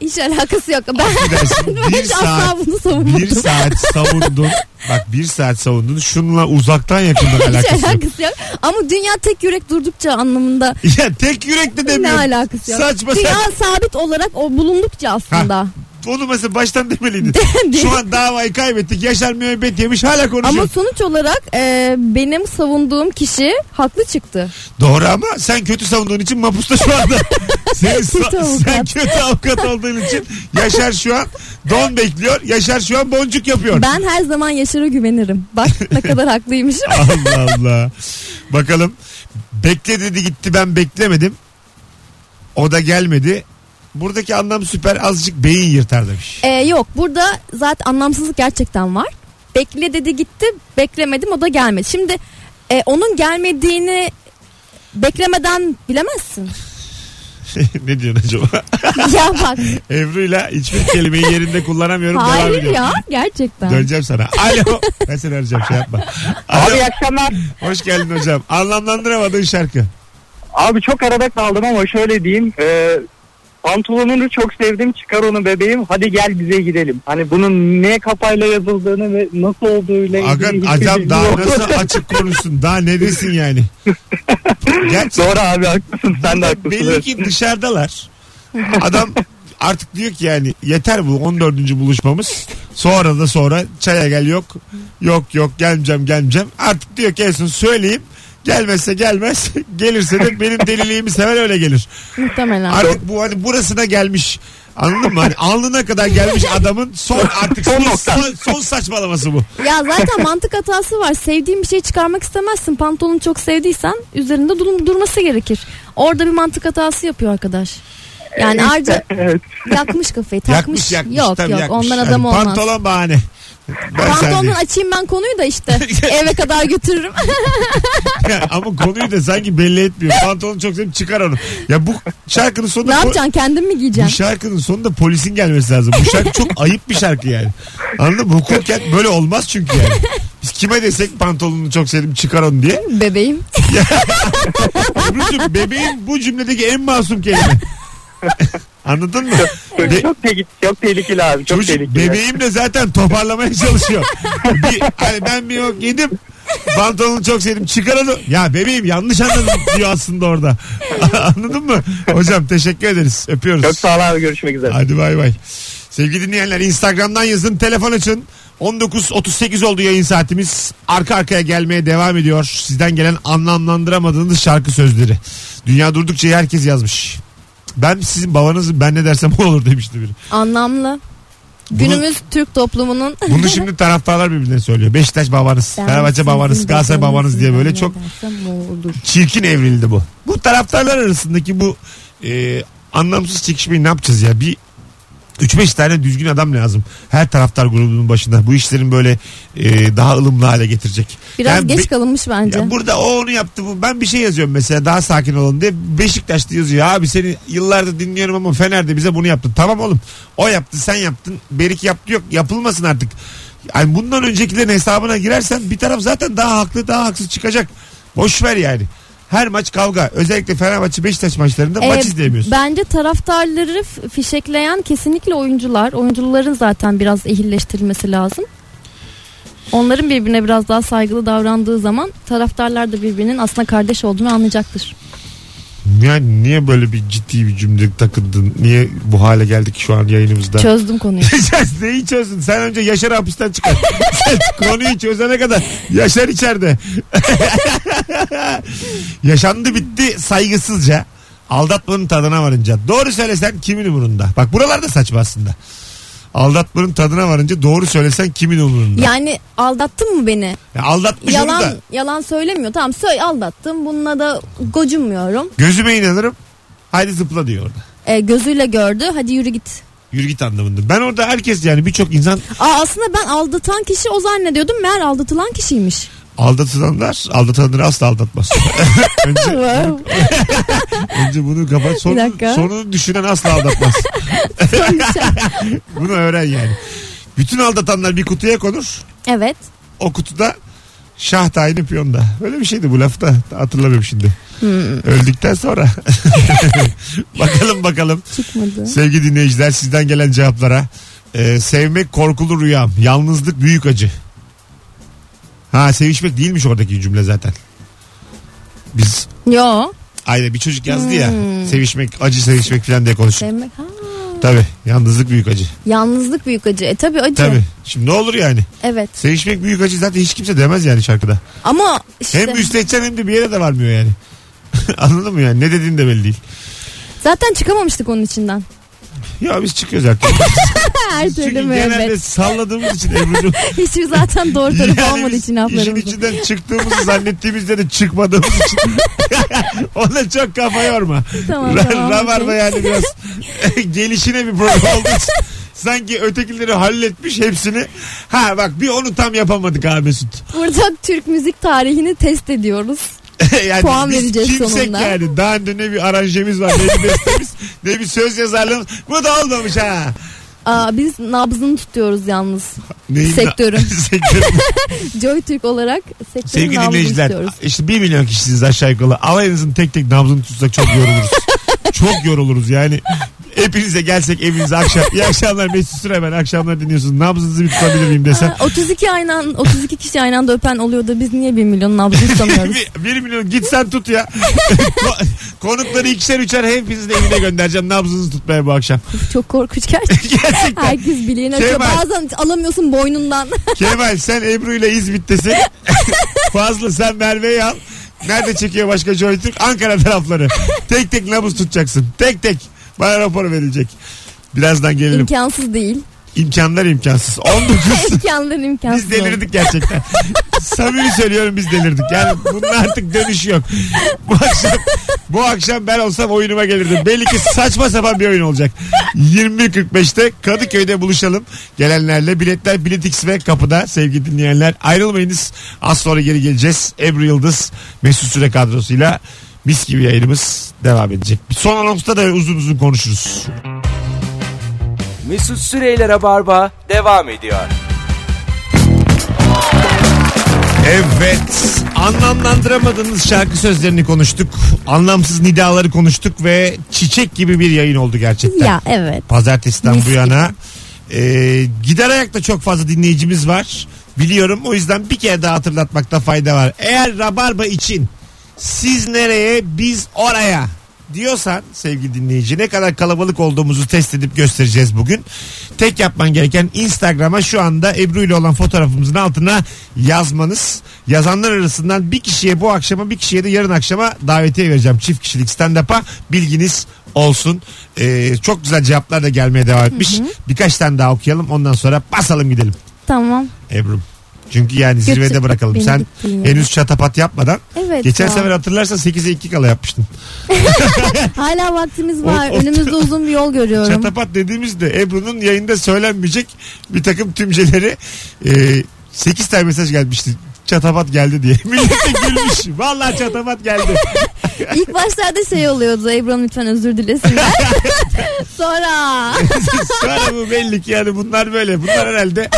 Speaker 3: Hiç alakası yok. Ben,
Speaker 2: affedersin.
Speaker 3: ben
Speaker 2: bir
Speaker 3: hiç asla
Speaker 2: saat,
Speaker 3: bunu savunmadım.
Speaker 2: bir saat savundun. Bak bir saat savundun. Şunla uzaktan yakından
Speaker 3: Hiç
Speaker 2: alakası yok.
Speaker 3: alakası yok. Ama dünya tek yürek durdukça anlamında
Speaker 2: Ya tek yürekle
Speaker 3: ne
Speaker 2: demiyorum.
Speaker 3: alakası yok.
Speaker 2: Saçma
Speaker 3: dünya
Speaker 2: sapan.
Speaker 3: sabit olarak o bulundukça aslında.
Speaker 2: Onu mesela baştan demeliydin.
Speaker 3: Değil.
Speaker 2: Şu an şey- davayı kaybettik. Yaşar müebbet yemiş hala konuşuyor.
Speaker 3: Ama sonuç olarak e, benim savunduğum kişi haklı çıktı.
Speaker 2: Doğru ama sen kötü savunduğun için mapusta şu anda. sen,
Speaker 3: Kötü avukat.
Speaker 2: sen kötü avukat olduğun için Yaşar şu an don bekliyor. Yaşar şu an boncuk yapıyor.
Speaker 3: Ben her zaman Yaşar'a güvenirim. Bak ne kadar haklıymışım.
Speaker 2: Allah Allah. Bakalım. Bekle dedi gitti ben beklemedim. O da gelmedi. Buradaki anlam süper azıcık beyin yırtar demiş.
Speaker 3: E, yok burada zaten anlamsızlık gerçekten var. Bekle dedi gitti beklemedim o da gelmedi. Şimdi e, onun gelmediğini beklemeden bilemezsin.
Speaker 2: ne diyorsun acaba?
Speaker 3: ya bak
Speaker 2: Ebru'yla hiçbir kelimeyi yerinde kullanamıyorum. devam
Speaker 3: hayır
Speaker 2: ediyorum.
Speaker 3: ya gerçekten.
Speaker 2: Döneceğim sana. Alo. Ben seni arayacağım şey yapma. Alo.
Speaker 4: Abi iyi akşamlar.
Speaker 2: Hoş geldin hocam. Anlamlandıramadığın şarkı.
Speaker 4: Abi çok arada kaldım ama şöyle diyeyim. E, pantolonunu çok sevdim çıkar onu bebeğim hadi gel bize gidelim. Hani bunun ne kafayla yazıldığını ve nasıl olduğuyla
Speaker 2: Aga
Speaker 4: ilgili hiçbir
Speaker 2: adam
Speaker 4: bilgim
Speaker 2: daha
Speaker 4: yok.
Speaker 2: nasıl açık konuşsun? Daha ne desin yani? Gerçi
Speaker 4: Doğru abi haklısın sen de haklısın.
Speaker 2: belli
Speaker 4: evet.
Speaker 2: ki dışarıdalar. Adam artık diyor ki yani yeter bu 14. buluşmamız. Sonra da sonra çaya gel yok. Yok yok gelmeyeceğim gelmeyeceğim. Artık diyor ki en son söyleyeyim. Gelmezse gelmez. Gelirse de benim deliliğimi sever öyle gelir.
Speaker 3: Muhtemelen.
Speaker 2: Artık bu hani burasına gelmiş. Anladın mı? Hani alnına kadar gelmiş adamın son artık son, son, son saçmalaması bu.
Speaker 3: Ya zaten mantık hatası var. Sevdiğin bir şey çıkarmak istemezsin. Pantolonu çok sevdiysen üzerinde dur- durması gerekir. Orada bir mantık hatası yapıyor arkadaş. Yani harca
Speaker 4: Evet.
Speaker 3: yakmış kafayı
Speaker 2: Yakmış
Speaker 3: takmış.
Speaker 2: yakmış.
Speaker 3: yok
Speaker 2: tabii
Speaker 3: yok
Speaker 2: yakmış.
Speaker 3: ondan
Speaker 2: Yani
Speaker 3: adam olmaz.
Speaker 2: Pantolon bahane. Ben
Speaker 3: Pantolonun
Speaker 2: sendeyim.
Speaker 3: açayım ben konuyu da işte eve kadar götürürüm.
Speaker 2: Ama konuyu da sanki belli etmiyor. Pantolonu çok sevdim çıkar onu. Ya bu şarkının sonunda...
Speaker 3: ne
Speaker 2: po-
Speaker 3: yapacaksın kendin mi
Speaker 2: Bu
Speaker 3: giyeceksin?
Speaker 2: şarkının sonunda polisin gelmesi lazım. Bu şarkı çok ayıp bir şarkı yani. Anladın mı? Hukuken böyle olmaz çünkü yani. Biz kime desek pantolonunu çok sevdim çıkar onu diye.
Speaker 3: Bebeğim.
Speaker 2: Ebru'cum bebeğin bu cümledeki en masum kelime. Anladın mı? Be-
Speaker 4: çok, tehlikeli, çok tehlikeli abi çok
Speaker 2: Çocuk
Speaker 4: tehlikeli.
Speaker 2: bebeğim de zaten toparlamaya çalışıyor. bir, hani ben bir yok yedim. Pantolonu çok sevdim. Çıkar onu. Ya bebeğim yanlış anladın diyor aslında orada. Anladın mı? Hocam teşekkür ederiz. Öpüyoruz.
Speaker 4: Çok sağ ol abi görüşmek üzere.
Speaker 2: Hadi bay bay. Sevgili dinleyenler Instagram'dan yazın telefon açın. 19.38 oldu yayın saatimiz. Arka arkaya gelmeye devam ediyor. Sizden gelen anlamlandıramadığınız şarkı sözleri. Dünya durdukça herkes yazmış. Ben sizin babanızım ben ne dersem o olur demişti biri.
Speaker 3: Anlamlı.
Speaker 2: Bunu-
Speaker 3: Günümüz Türk toplumunun
Speaker 2: Bunu şimdi taraftarlar birbirine söylüyor. Beşiktaş babanız,
Speaker 3: Ben
Speaker 2: Fenerbahçe
Speaker 3: sizin
Speaker 2: babanız, Galatasaray
Speaker 3: beklediğiniz
Speaker 2: babanız diye böyle
Speaker 3: ben
Speaker 2: çok
Speaker 3: neredensem o olur.
Speaker 2: çirkin evrildi bu. Bu taraftarlar arasındaki bu e, anlamsız çekişmeyi ne yapacağız ya? Bir 3-5 tane düzgün adam lazım. Her taraftar grubunun başında. Bu işlerin böyle e, daha ılımlı hale getirecek.
Speaker 3: Biraz
Speaker 2: Yani
Speaker 3: geç
Speaker 2: be-
Speaker 3: kalınmış bence.
Speaker 2: ya burada o onu yaptı bu. Ben bir şey yazıyorum mesela daha sakin olun diye. Beşiktaş'ta yazıyor. Abi seni yıllardır dinliyorum ama Fener'de bize bunu yaptı. Tamam oğlum. O yaptı sen yaptın. Berik yaptı yok. Yapılmasın artık. Yani bundan öncekilerin hesabına girersen bir taraf zaten daha haklı daha haksız çıkacak. Boş ver yani. Her maç kavga. Özellikle Fenerbahçe Beşiktaş maçlarında
Speaker 3: Ee,
Speaker 2: maç izleyemiyorsun.
Speaker 3: Bence taraftarları f- fişekleyen kesinlikle oyuncular. Oyuncuların zaten biraz ehilleştirilmesi lazım. Onların birbirine biraz daha saygılı davrandığı zaman taraftarlar da birbirinin aslında kardeş olduğunu anlayacaktır.
Speaker 2: Yani niye böyle bir ciddi bir cümle takındın? Niye bu hale geldik şu an yayınımızda?
Speaker 3: Çözdüm konuyu.
Speaker 2: Sen neyi çözdün? Sen önce Yaşar hapisten çıkar. Sen konuyu çözene kadar Yaşar içeride. Yaşandı bitti saygısızca. Aldatmanın tadına varınca. Doğru söylesen kimin umurunda? Bak buralarda saçma aslında. Aldatmanın tadına varınca doğru söylesen kimin umurunda?
Speaker 3: Yani aldattın mı beni?
Speaker 2: Ya aldatmış onu
Speaker 3: Yalan
Speaker 2: da.
Speaker 3: yalan söylemiyor. Tamam söyle aldattım. Bununla da gocunmuyorum.
Speaker 2: Gözüme inanırım. Haydi zıpla diyor orada.
Speaker 3: Ee, gözüyle gördü. Hadi yürü git.
Speaker 2: Yürü git anlamında. Ben orada herkes yani birçok insan
Speaker 3: Aa, aslında ben aldatan kişi o zannediyordum. Meğer aldatılan kişiymiş.
Speaker 2: aldatılanlar aldatanları asla aldatmaz. Önce Önce bunu kapat.
Speaker 3: Bir
Speaker 2: Son,
Speaker 3: dakika.
Speaker 2: sonunu düşünen asla aldatmaz. bunu öğren yani. Bütün aldatanlar bir kutuya konur.
Speaker 3: evet.
Speaker 2: O kutuda şah tayini piyonda. Öyle bir şeydi bu lafta. Hatırlamıyorum şimdi.
Speaker 3: Hmm.
Speaker 2: Öldükten sonra. bakalım bakalım.
Speaker 3: Çıkmadı.
Speaker 2: Sevgili dinleyiciler sizden gelen cevaplara. Ee, sevmek korkulu rüyam. Yalnızlık büyük acı. Ha sevişmek değilmiş oradaki cümle zaten. Biz
Speaker 3: Yo.
Speaker 2: Aynen bir çocuk yazdı ya. Sevişmek, acı sevişmek falan diye konuştuk.
Speaker 3: Sevmek. Ha.
Speaker 2: Tabii. Yalnızlık büyük acı.
Speaker 3: Yalnızlık büyük acı. E tabi acı.
Speaker 2: Tabii. Şimdi ne olur yani?
Speaker 3: Evet.
Speaker 2: Sevişmek büyük acı zaten hiç kimse demez yani şarkıda.
Speaker 3: Ama işte
Speaker 2: Hem müstehcen hem de bir yere de varmıyor yani. Anladın mı yani? Ne dediğin de belli değil.
Speaker 3: zaten çıkamamıştık onun içinden.
Speaker 2: Ya biz çıkıyoruz artık.
Speaker 3: Her
Speaker 2: Çünkü
Speaker 3: türlü
Speaker 2: genelde
Speaker 3: müebbet.
Speaker 2: salladığımız için Ebru'cum.
Speaker 3: Hiçbir zaten doğru tarafı olmadığı
Speaker 2: biz
Speaker 3: için
Speaker 2: işin
Speaker 3: laflarımızın.
Speaker 2: içinden çıktığımızı zannettiğimizde de çıkmadığımız için. Ona çok kafa yorma.
Speaker 3: Tamam,
Speaker 2: Ra-
Speaker 3: tamam,
Speaker 2: Rabarba
Speaker 3: okey.
Speaker 2: yani biraz gelişine bir program olduğu için sanki ötekileri halletmiş hepsini. Ha bak bir onu tam yapamadık abi Mesut.
Speaker 3: Burada Türk müzik tarihini test ediyoruz.
Speaker 2: yani
Speaker 3: Puan
Speaker 2: biz
Speaker 3: vereceğiz
Speaker 2: kimsek
Speaker 3: sonunda.
Speaker 2: yani. Daha önce ne bir aranjemiz var ne bir bestemiz ne bir söz yazarlığımız. Bu da olmamış ha.
Speaker 3: Aa, biz nabzını tutuyoruz yalnız.
Speaker 2: Neyin-
Speaker 3: Sektörüm.
Speaker 2: Sektörüm.
Speaker 3: Joy Türk olarak sektörün
Speaker 2: Sevgili
Speaker 3: nabzını
Speaker 2: dinleyiciler
Speaker 3: tutuyoruz.
Speaker 2: işte 1 milyon kişisiniz aşağı yukarı. Alayınızın tek tek nabzını tutsak çok yoruluruz. çok yoruluruz yani. Hepinize gelsek evinize akşam. İyi akşamlar Mesut Süre ben akşamlar dinliyorsunuz. Nabzınızı bir tutabilir miyim desem.
Speaker 3: Ha, 32 aynı an- 32 kişi aynı anda öpen oluyor da biz niye 1 milyon nabzı tutamıyoruz?
Speaker 2: 1 milyon git sen tut ya. Ko- Konukları ikişer üçer hepinizin evine göndereceğim. Nabzınızı tutmaya bu akşam.
Speaker 3: Çok korkunç gerçekten.
Speaker 2: Gerçekten.
Speaker 3: Herkes bileğini açıyor.
Speaker 2: Kemal.
Speaker 3: Bazen alamıyorsun boynundan.
Speaker 2: Kemal sen Ebru ile İzmit'tesin. Fazlı sen Merve'yi al. Nerede çekiyor başka Joy Türk? Ankara tarafları. Tek tek nabız tutacaksın. Tek tek. Bana rapor verilecek. Birazdan gelelim.
Speaker 3: İmkansız değil.
Speaker 2: İmkanlar imkansız. 19.
Speaker 3: İmkanlar
Speaker 2: Biz
Speaker 3: imkansız.
Speaker 2: delirdik gerçekten. Samimi söylüyorum biz delirdik. Yani bunun artık dönüşü yok. Bu akşam bu akşam ben olsam oyunuma gelirdim. Belli ki saçma sapan bir oyun olacak. 21.45'te Kadıköy'de buluşalım. Gelenlerle biletler biletix ve kapıda sevgili dinleyenler. Ayrılmayınız. Az sonra geri geleceğiz. Ebru Yıldız Mesut Süre kadrosuyla mis gibi yayınımız devam edecek. Son anonsta da uzun uzun konuşuruz.
Speaker 1: Mesut Süreyler'e barba devam ediyor.
Speaker 2: Evet. Anlamlandıramadığınız şarkı sözlerini konuştuk. Anlamsız nidaları konuştuk ve çiçek gibi bir yayın oldu gerçekten.
Speaker 3: Ya evet.
Speaker 2: Pazartesiden
Speaker 3: Mis
Speaker 2: bu
Speaker 3: gibi.
Speaker 2: yana. Ee, gider ayakta çok fazla dinleyicimiz var. Biliyorum o yüzden bir kere daha hatırlatmakta fayda var. Eğer Rabarba için siz nereye biz oraya diyorsan sevgili dinleyici ne kadar kalabalık olduğumuzu test edip göstereceğiz bugün. Tek yapman gereken Instagram'a şu anda Ebru ile olan fotoğrafımızın altına yazmanız. Yazanlar arasından bir kişiye bu akşama bir kişiye de yarın akşama davetiye vereceğim. Çift kişilik stand-up'a bilginiz olsun. Ee, çok güzel cevaplar da gelmeye devam etmiş. Birkaç tane daha okuyalım ondan sonra basalım gidelim
Speaker 3: Tamam.
Speaker 2: Ebru. Çünkü yani zirvede
Speaker 3: Götür
Speaker 2: bırakalım.
Speaker 3: beni
Speaker 2: Sen
Speaker 3: gittiğin yere.
Speaker 2: henüz çatapat yapmadan
Speaker 3: Evet.
Speaker 2: Geçen
Speaker 3: ya.
Speaker 2: sefer hatırlarsan 8'e 2 kala yapmıştın.
Speaker 3: Hala vaktimiz
Speaker 2: O-
Speaker 3: var.
Speaker 2: o-
Speaker 3: Önümüzde uzun bir yol görüyorum.
Speaker 2: Çatapat dediğimizde Ebru'nun yayında söylenmeyecek bir takım tümceleri e, 8 tane mesaj gelmişti. Çatapat geldi diye. Millet de gülmüş. Vallahi çatapat geldi.
Speaker 3: İlk başlarda şey oluyordu. Ebru Hanım lütfen özür dilesinler. Sonra
Speaker 2: Sonra bu belli ki yani bunlar böyle. Bunlar herhalde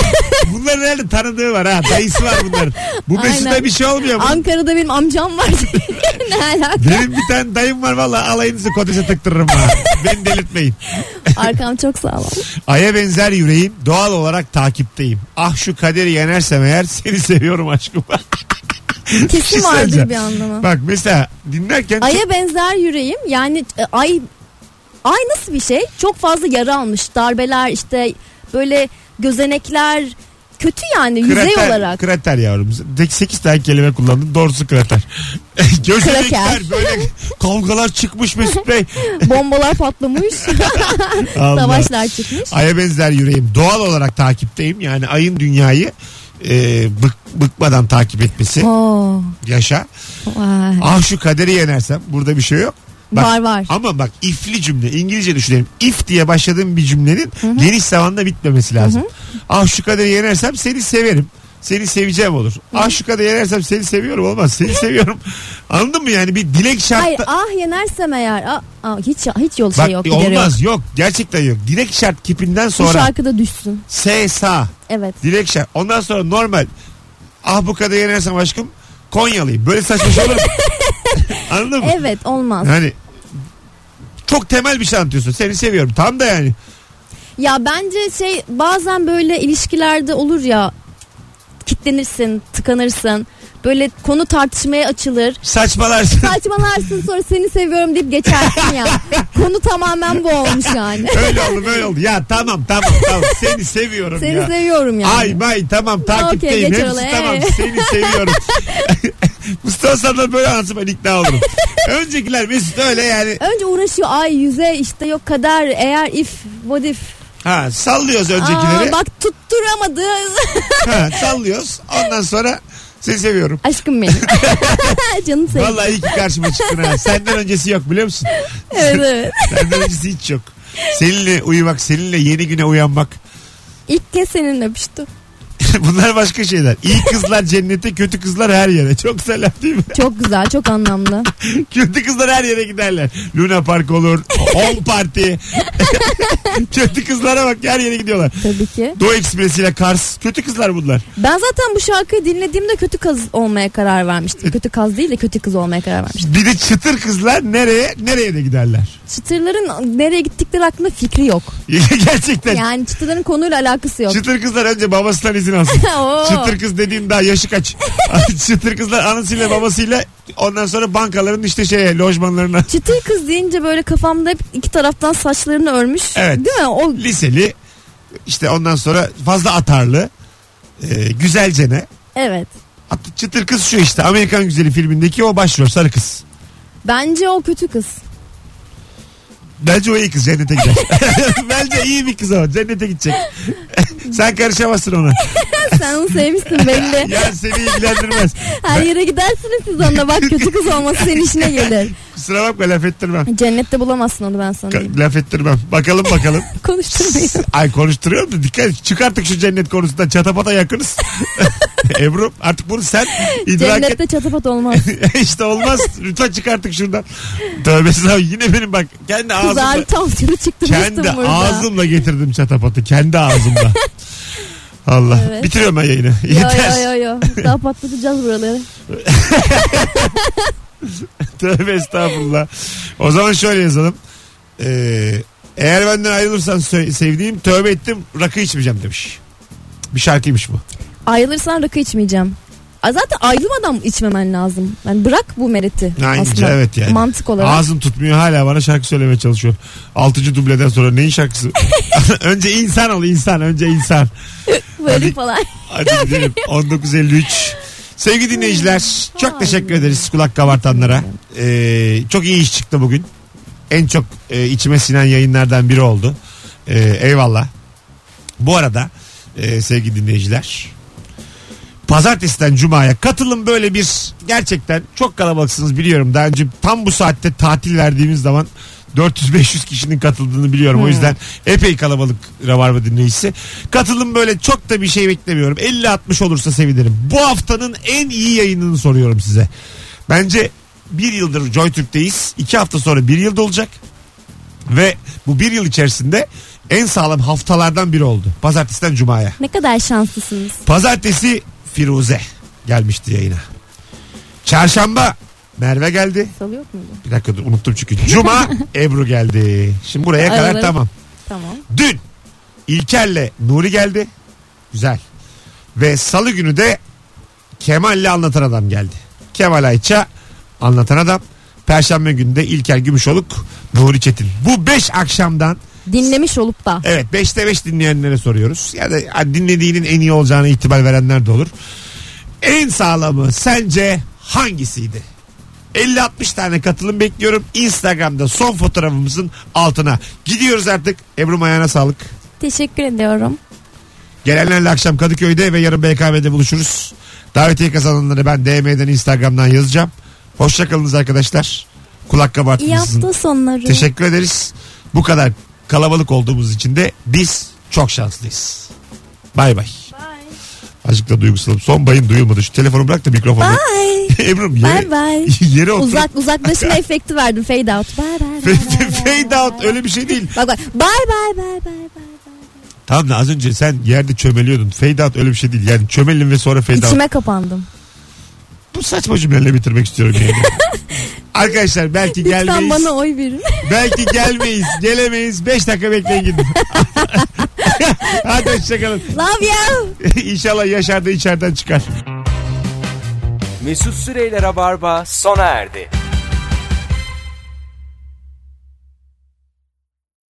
Speaker 2: bunların herhalde tanıdığı var ha. Dayısı var bunların. Bu Mesut'a
Speaker 3: Aynen.
Speaker 2: bir şey olmuyor. Bu-
Speaker 3: Ankara'da benim amcam var. ne alaka?
Speaker 2: Benim bir tane dayım var valla alayınızı kodese tıktırırım ha. Beni delirtmeyin.
Speaker 3: Arkam çok sağlam.
Speaker 2: Ay'a benzer yüreğim doğal olarak takipteyim. Ah şu kaderi yenersem eğer seni seviyorum aşkım. Bir şey
Speaker 3: Kesin vardır
Speaker 2: söyleyeceğim.
Speaker 3: bir anlamı.
Speaker 2: Bak mesela dinlerken çok-
Speaker 3: Ay'a benzer yüreğim. Yani e, ay ay nasıl bir şey? Çok fazla yara almış. Darbeler işte böyle gözenekler kötü yani yüzey
Speaker 2: krater,
Speaker 3: olarak.
Speaker 2: Krater yavrum. 8 tane kelime kullandın. Doğrusu krater. Gözlükler
Speaker 3: Kraker.
Speaker 2: böyle kavgalar çıkmış Mesut Bey.
Speaker 3: Bombalar patlamış.
Speaker 2: Allah.
Speaker 3: Savaşlar çıkmış.
Speaker 2: Ay'a benzer yüreğim. Doğal olarak takipteyim. Yani ayın dünyayı e, bık, bıkmadan takip etmesi.
Speaker 3: Oo,
Speaker 2: Yaşa.
Speaker 3: Oh, vay.
Speaker 2: Ah şu kaderi yenersem. Burada bir şey yok. Bak,
Speaker 3: var var.
Speaker 2: Ama bak ifli cümle İngilizce düşünelim. If diye başladığım bir cümlenin geniş zamanda bitmemesi lazım. Ah şu kadar yenersem seni severim. Seni seveceğim olur. Ah şu kadar yenersem seni seviyorum olmaz. Seni seviyorum. Anladın mı yani bir dilek
Speaker 3: Hayır
Speaker 2: şartta.
Speaker 3: ah yenersem eğer. ah, ah, hiç hiç yol
Speaker 2: Bak
Speaker 3: şey yok. gideri yok.
Speaker 2: olmaz yok gerçekten yok. Dilek şart kipinden
Speaker 3: Bu
Speaker 2: sonra
Speaker 3: şarkıda düşsün.
Speaker 2: S sa
Speaker 3: Evet.
Speaker 2: dilek şart. Ondan sonra normal. Ah bu kadar yenersem aşkım Konyalıyım. Böyle saçma şey olur mu? Anladın mı?
Speaker 3: Evet olmaz.
Speaker 2: Yani çok temel bir şey anlatıyorsun. Seni seviyorum. Tam da yani.
Speaker 3: Ya bence şey bazen böyle ilişkilerde olur ya kitlenirsin, tıkanırsın. Böyle konu tartışmaya açılır.
Speaker 2: Saçmalarsın.
Speaker 3: Saçmalarsın sonra seni seviyorum deyip geçersin ya. konu tamamen bu olmuş yani.
Speaker 2: öyle oldu böyle oldu. Ya tamam tamam tamam seni seviyorum
Speaker 3: Seni
Speaker 2: ya.
Speaker 3: seviyorum yani.
Speaker 2: Ay may tamam takipteyim.
Speaker 3: Okey, geç
Speaker 2: Hepsi
Speaker 3: olaya.
Speaker 2: tamam seni seviyorum. Mustafa Sandal böyle anlatsın ben ikna olurum. Öncekiler Mesut öyle yani.
Speaker 3: Önce uğraşıyor ay yüze işte yok kader eğer if what if.
Speaker 2: Ha sallıyoruz
Speaker 3: Aa,
Speaker 2: öncekileri.
Speaker 3: bak tutturamadı.
Speaker 2: ha, sallıyoruz. Ondan sonra seni seviyorum.
Speaker 3: Aşkım benim. Canım sevgilim.
Speaker 2: Vallahi iyi ki karşıma çıktın ha. Senden öncesi yok biliyor musun?
Speaker 3: Evet, evet.
Speaker 2: Senden öncesi hiç yok. Seninle uyumak, seninle yeni güne uyanmak.
Speaker 3: İlk kez seninle öpüştüm.
Speaker 2: Bunlar başka şeyler. İyi kızlar cennete, kötü kızlar her yere. Çok güzel laf değil mi?
Speaker 3: Çok güzel çok anlamlı.
Speaker 2: Kötü kızlar her yere giderler. Luna Park olur. Home Party. Kötü kızlara bak her yere gidiyorlar.
Speaker 3: Tabii ki.
Speaker 2: Doğu Ekspresi ile Kars. Kötü kızlar bunlar.
Speaker 3: Ben zaten bu şarkıyı dinlediğimde kötü kız olmaya karar vermiştim. Kötü kız değil de kötü kız olmaya karar vermiştim.
Speaker 2: Bir de çıtır kızlar nereye nereye de giderler.
Speaker 3: Çıtırların nereye gittikleri hakkında fikri yok.
Speaker 2: Gerçekten.
Speaker 3: Yani çıtırların konuyla alakası yok.
Speaker 2: Çıtır kızlar önce babasından izin alsın.
Speaker 3: Oo.
Speaker 2: çıtır kız dediğin daha yaşı kaç. çıtır kızlar anasıyla babasıyla ondan sonra bankaların işte şeye lojmanlarına.
Speaker 3: Çıtır kız deyince böyle kafamda hep iki taraftan saçlarını örmüş.
Speaker 2: Evet.
Speaker 3: Değil mi? O
Speaker 2: Liseli işte ondan sonra fazla atarlı. E, güzelcene.
Speaker 3: evet.
Speaker 2: At- Çıtır kız şu işte Amerikan Güzeli filmindeki o başrol sarı kız.
Speaker 3: Bence o kötü kız.
Speaker 2: Bence o iyi kız cennete gider. Bence iyi bir kız o cennete gidecek. Sen karışamazsın ona.
Speaker 3: Sen onu sevmişsin belli.
Speaker 2: Ya seni ilgilendirmez.
Speaker 3: Her yere gidersiniz siz onda. Bak kötü kız olması senin işine gelir.
Speaker 2: Kusura bakma laf ettirmem.
Speaker 3: Cennette bulamazsın onu ben sana diyeyim.
Speaker 2: Ka- laf ettirmem. Bakalım bakalım.
Speaker 3: Konuşturmayayım.
Speaker 2: Ay konuşturuyorum da dikkat et. Çık artık şu cennet konusundan çatapata yakınız. Ebru artık bunu sen idrak et.
Speaker 3: Cennette çatapat olmaz.
Speaker 2: işte olmaz. Lütfen çık artık şuradan. Tövbe estağfurullah. Yine benim bak kendi ağzımla.
Speaker 3: Kızar tam türü çıktırmıştım
Speaker 2: Kendi
Speaker 3: burada.
Speaker 2: ağzımla getirdim çatapatı. Kendi ağzımla. Allah.
Speaker 3: Evet.
Speaker 2: Bitiriyorum ben yayını.
Speaker 3: Yo
Speaker 2: Yeter.
Speaker 3: yo yo yo. Daha patlatacağız buraları.
Speaker 2: Tövbe estağfurullah. O zaman şöyle yazalım. Ee, eğer benden ayrılırsan sö- sevdiğim tövbe ettim rakı içmeyeceğim demiş. Bir şarkıymış bu.
Speaker 3: Ayrılırsan rakı içmeyeceğim. A, Zaten ayrılmadan içmemen lazım. Yani bırak bu mereti.
Speaker 2: Aynen,
Speaker 3: aslında.
Speaker 2: şey, evet yani.
Speaker 3: Mantık olarak.
Speaker 2: Ağzım tutmuyor hala bana şarkı söylemeye çalışıyor. Altıncı dubleden sonra neyin şarkısı? önce insan ol insan önce insan.
Speaker 3: böyle
Speaker 2: Hadi.
Speaker 3: falan.
Speaker 2: Hadi gidelim. 1953. Sevgili dinleyiciler çok teşekkür ederiz kulak kabartanlara. Ee, çok iyi iş çıktı bugün. En çok e, içime sinen yayınlardan biri oldu. Ee, eyvallah. Bu arada e, sevgili dinleyiciler pazartesiden cumaya katılın böyle bir gerçekten çok kalabalıksınız biliyorum. Daha önce tam bu saatte tatil verdiğimiz zaman 400-500 kişinin katıldığını biliyorum. O yüzden epey kalabalık Rabarba dinleyicisi. Katılın böyle çok da bir şey beklemiyorum. 50-60 olursa sevinirim. Bu haftanın en iyi yayınını soruyorum size. Bence bir yıldır JoyTürk'teyiz. İki hafta sonra bir yılda olacak. Ve bu bir yıl içerisinde en sağlam haftalardan biri oldu. Pazartesiden cumaya.
Speaker 3: Ne kadar şanslısınız.
Speaker 2: Pazartesi Firuze gelmişti yayına. Çarşamba Merve geldi.
Speaker 3: Salı yok muydu?
Speaker 2: Bir dakika dur unuttum çünkü. Cuma Ebru geldi. Şimdi buraya kadar
Speaker 3: Araları-
Speaker 2: tamam.
Speaker 3: Tamam.
Speaker 2: Dün İlker'le Nuri geldi. Güzel. Ve salı günü de Kemal'le anlatan adam geldi. Kemal Ayça anlatan adam. Perşembe günü de İlker Gümüşoluk, Nuri Çetin. Bu 5 akşamdan
Speaker 3: Dinlemiş olup da.
Speaker 2: Evet 5'te 5 dinleyenlere soruyoruz. Ya da ha, dinlediğinin en iyi olacağına ihtimal verenler de olur. En sağlamı sence hangisiydi? 50-60 tane katılım bekliyorum. Instagram'da son fotoğrafımızın altına. Gidiyoruz artık. Ebru Mayan'a sağlık.
Speaker 3: Teşekkür ediyorum.
Speaker 2: Gelenlerle akşam Kadıköy'de ve yarın BKM'de buluşuruz. Davetiye kazananları ben DM'den Instagram'dan yazacağım. Hoşçakalınız arkadaşlar. Kulak kabartın
Speaker 3: İyi
Speaker 2: sizin.
Speaker 3: hafta sonları.
Speaker 2: Teşekkür ederiz. Bu kadar kalabalık olduğumuz için de biz çok şanslıyız. Bay bay. Azıcık da duygusalım. Son bayım duyulmadı. Şu telefonu bırak da mikrofonu.
Speaker 3: Bye.
Speaker 2: Ebru'm
Speaker 3: Bye
Speaker 2: yere,
Speaker 3: bye.
Speaker 2: yere otur.
Speaker 3: Uzak uzaklaşma efekti verdim. Fade out. Bye bye. bye, bye, bye,
Speaker 2: Fade
Speaker 3: bye,
Speaker 2: out
Speaker 3: bye.
Speaker 2: öyle bir şey değil.
Speaker 3: Bak bak. Bye bye bye bye bye.
Speaker 2: Tamam da az önce sen yerde çömeliyordun. Fade out öyle bir şey değil. Yani çömelin ve sonra fade out.
Speaker 3: İçime kapandım.
Speaker 2: Bu saçma cümlelerle bitirmek istiyorum yani. Arkadaşlar belki
Speaker 3: Lütfen
Speaker 2: gelmeyiz.
Speaker 3: bana oy verin.
Speaker 2: Belki gelmeyiz. Gelemeyiz. 5 dakika bekleyin gidin. Hadi hoşçakalın.
Speaker 3: Love you.
Speaker 2: İnşallah Yaşar da içeriden çıkar.
Speaker 1: Mesut Süreyler'e barba sona erdi.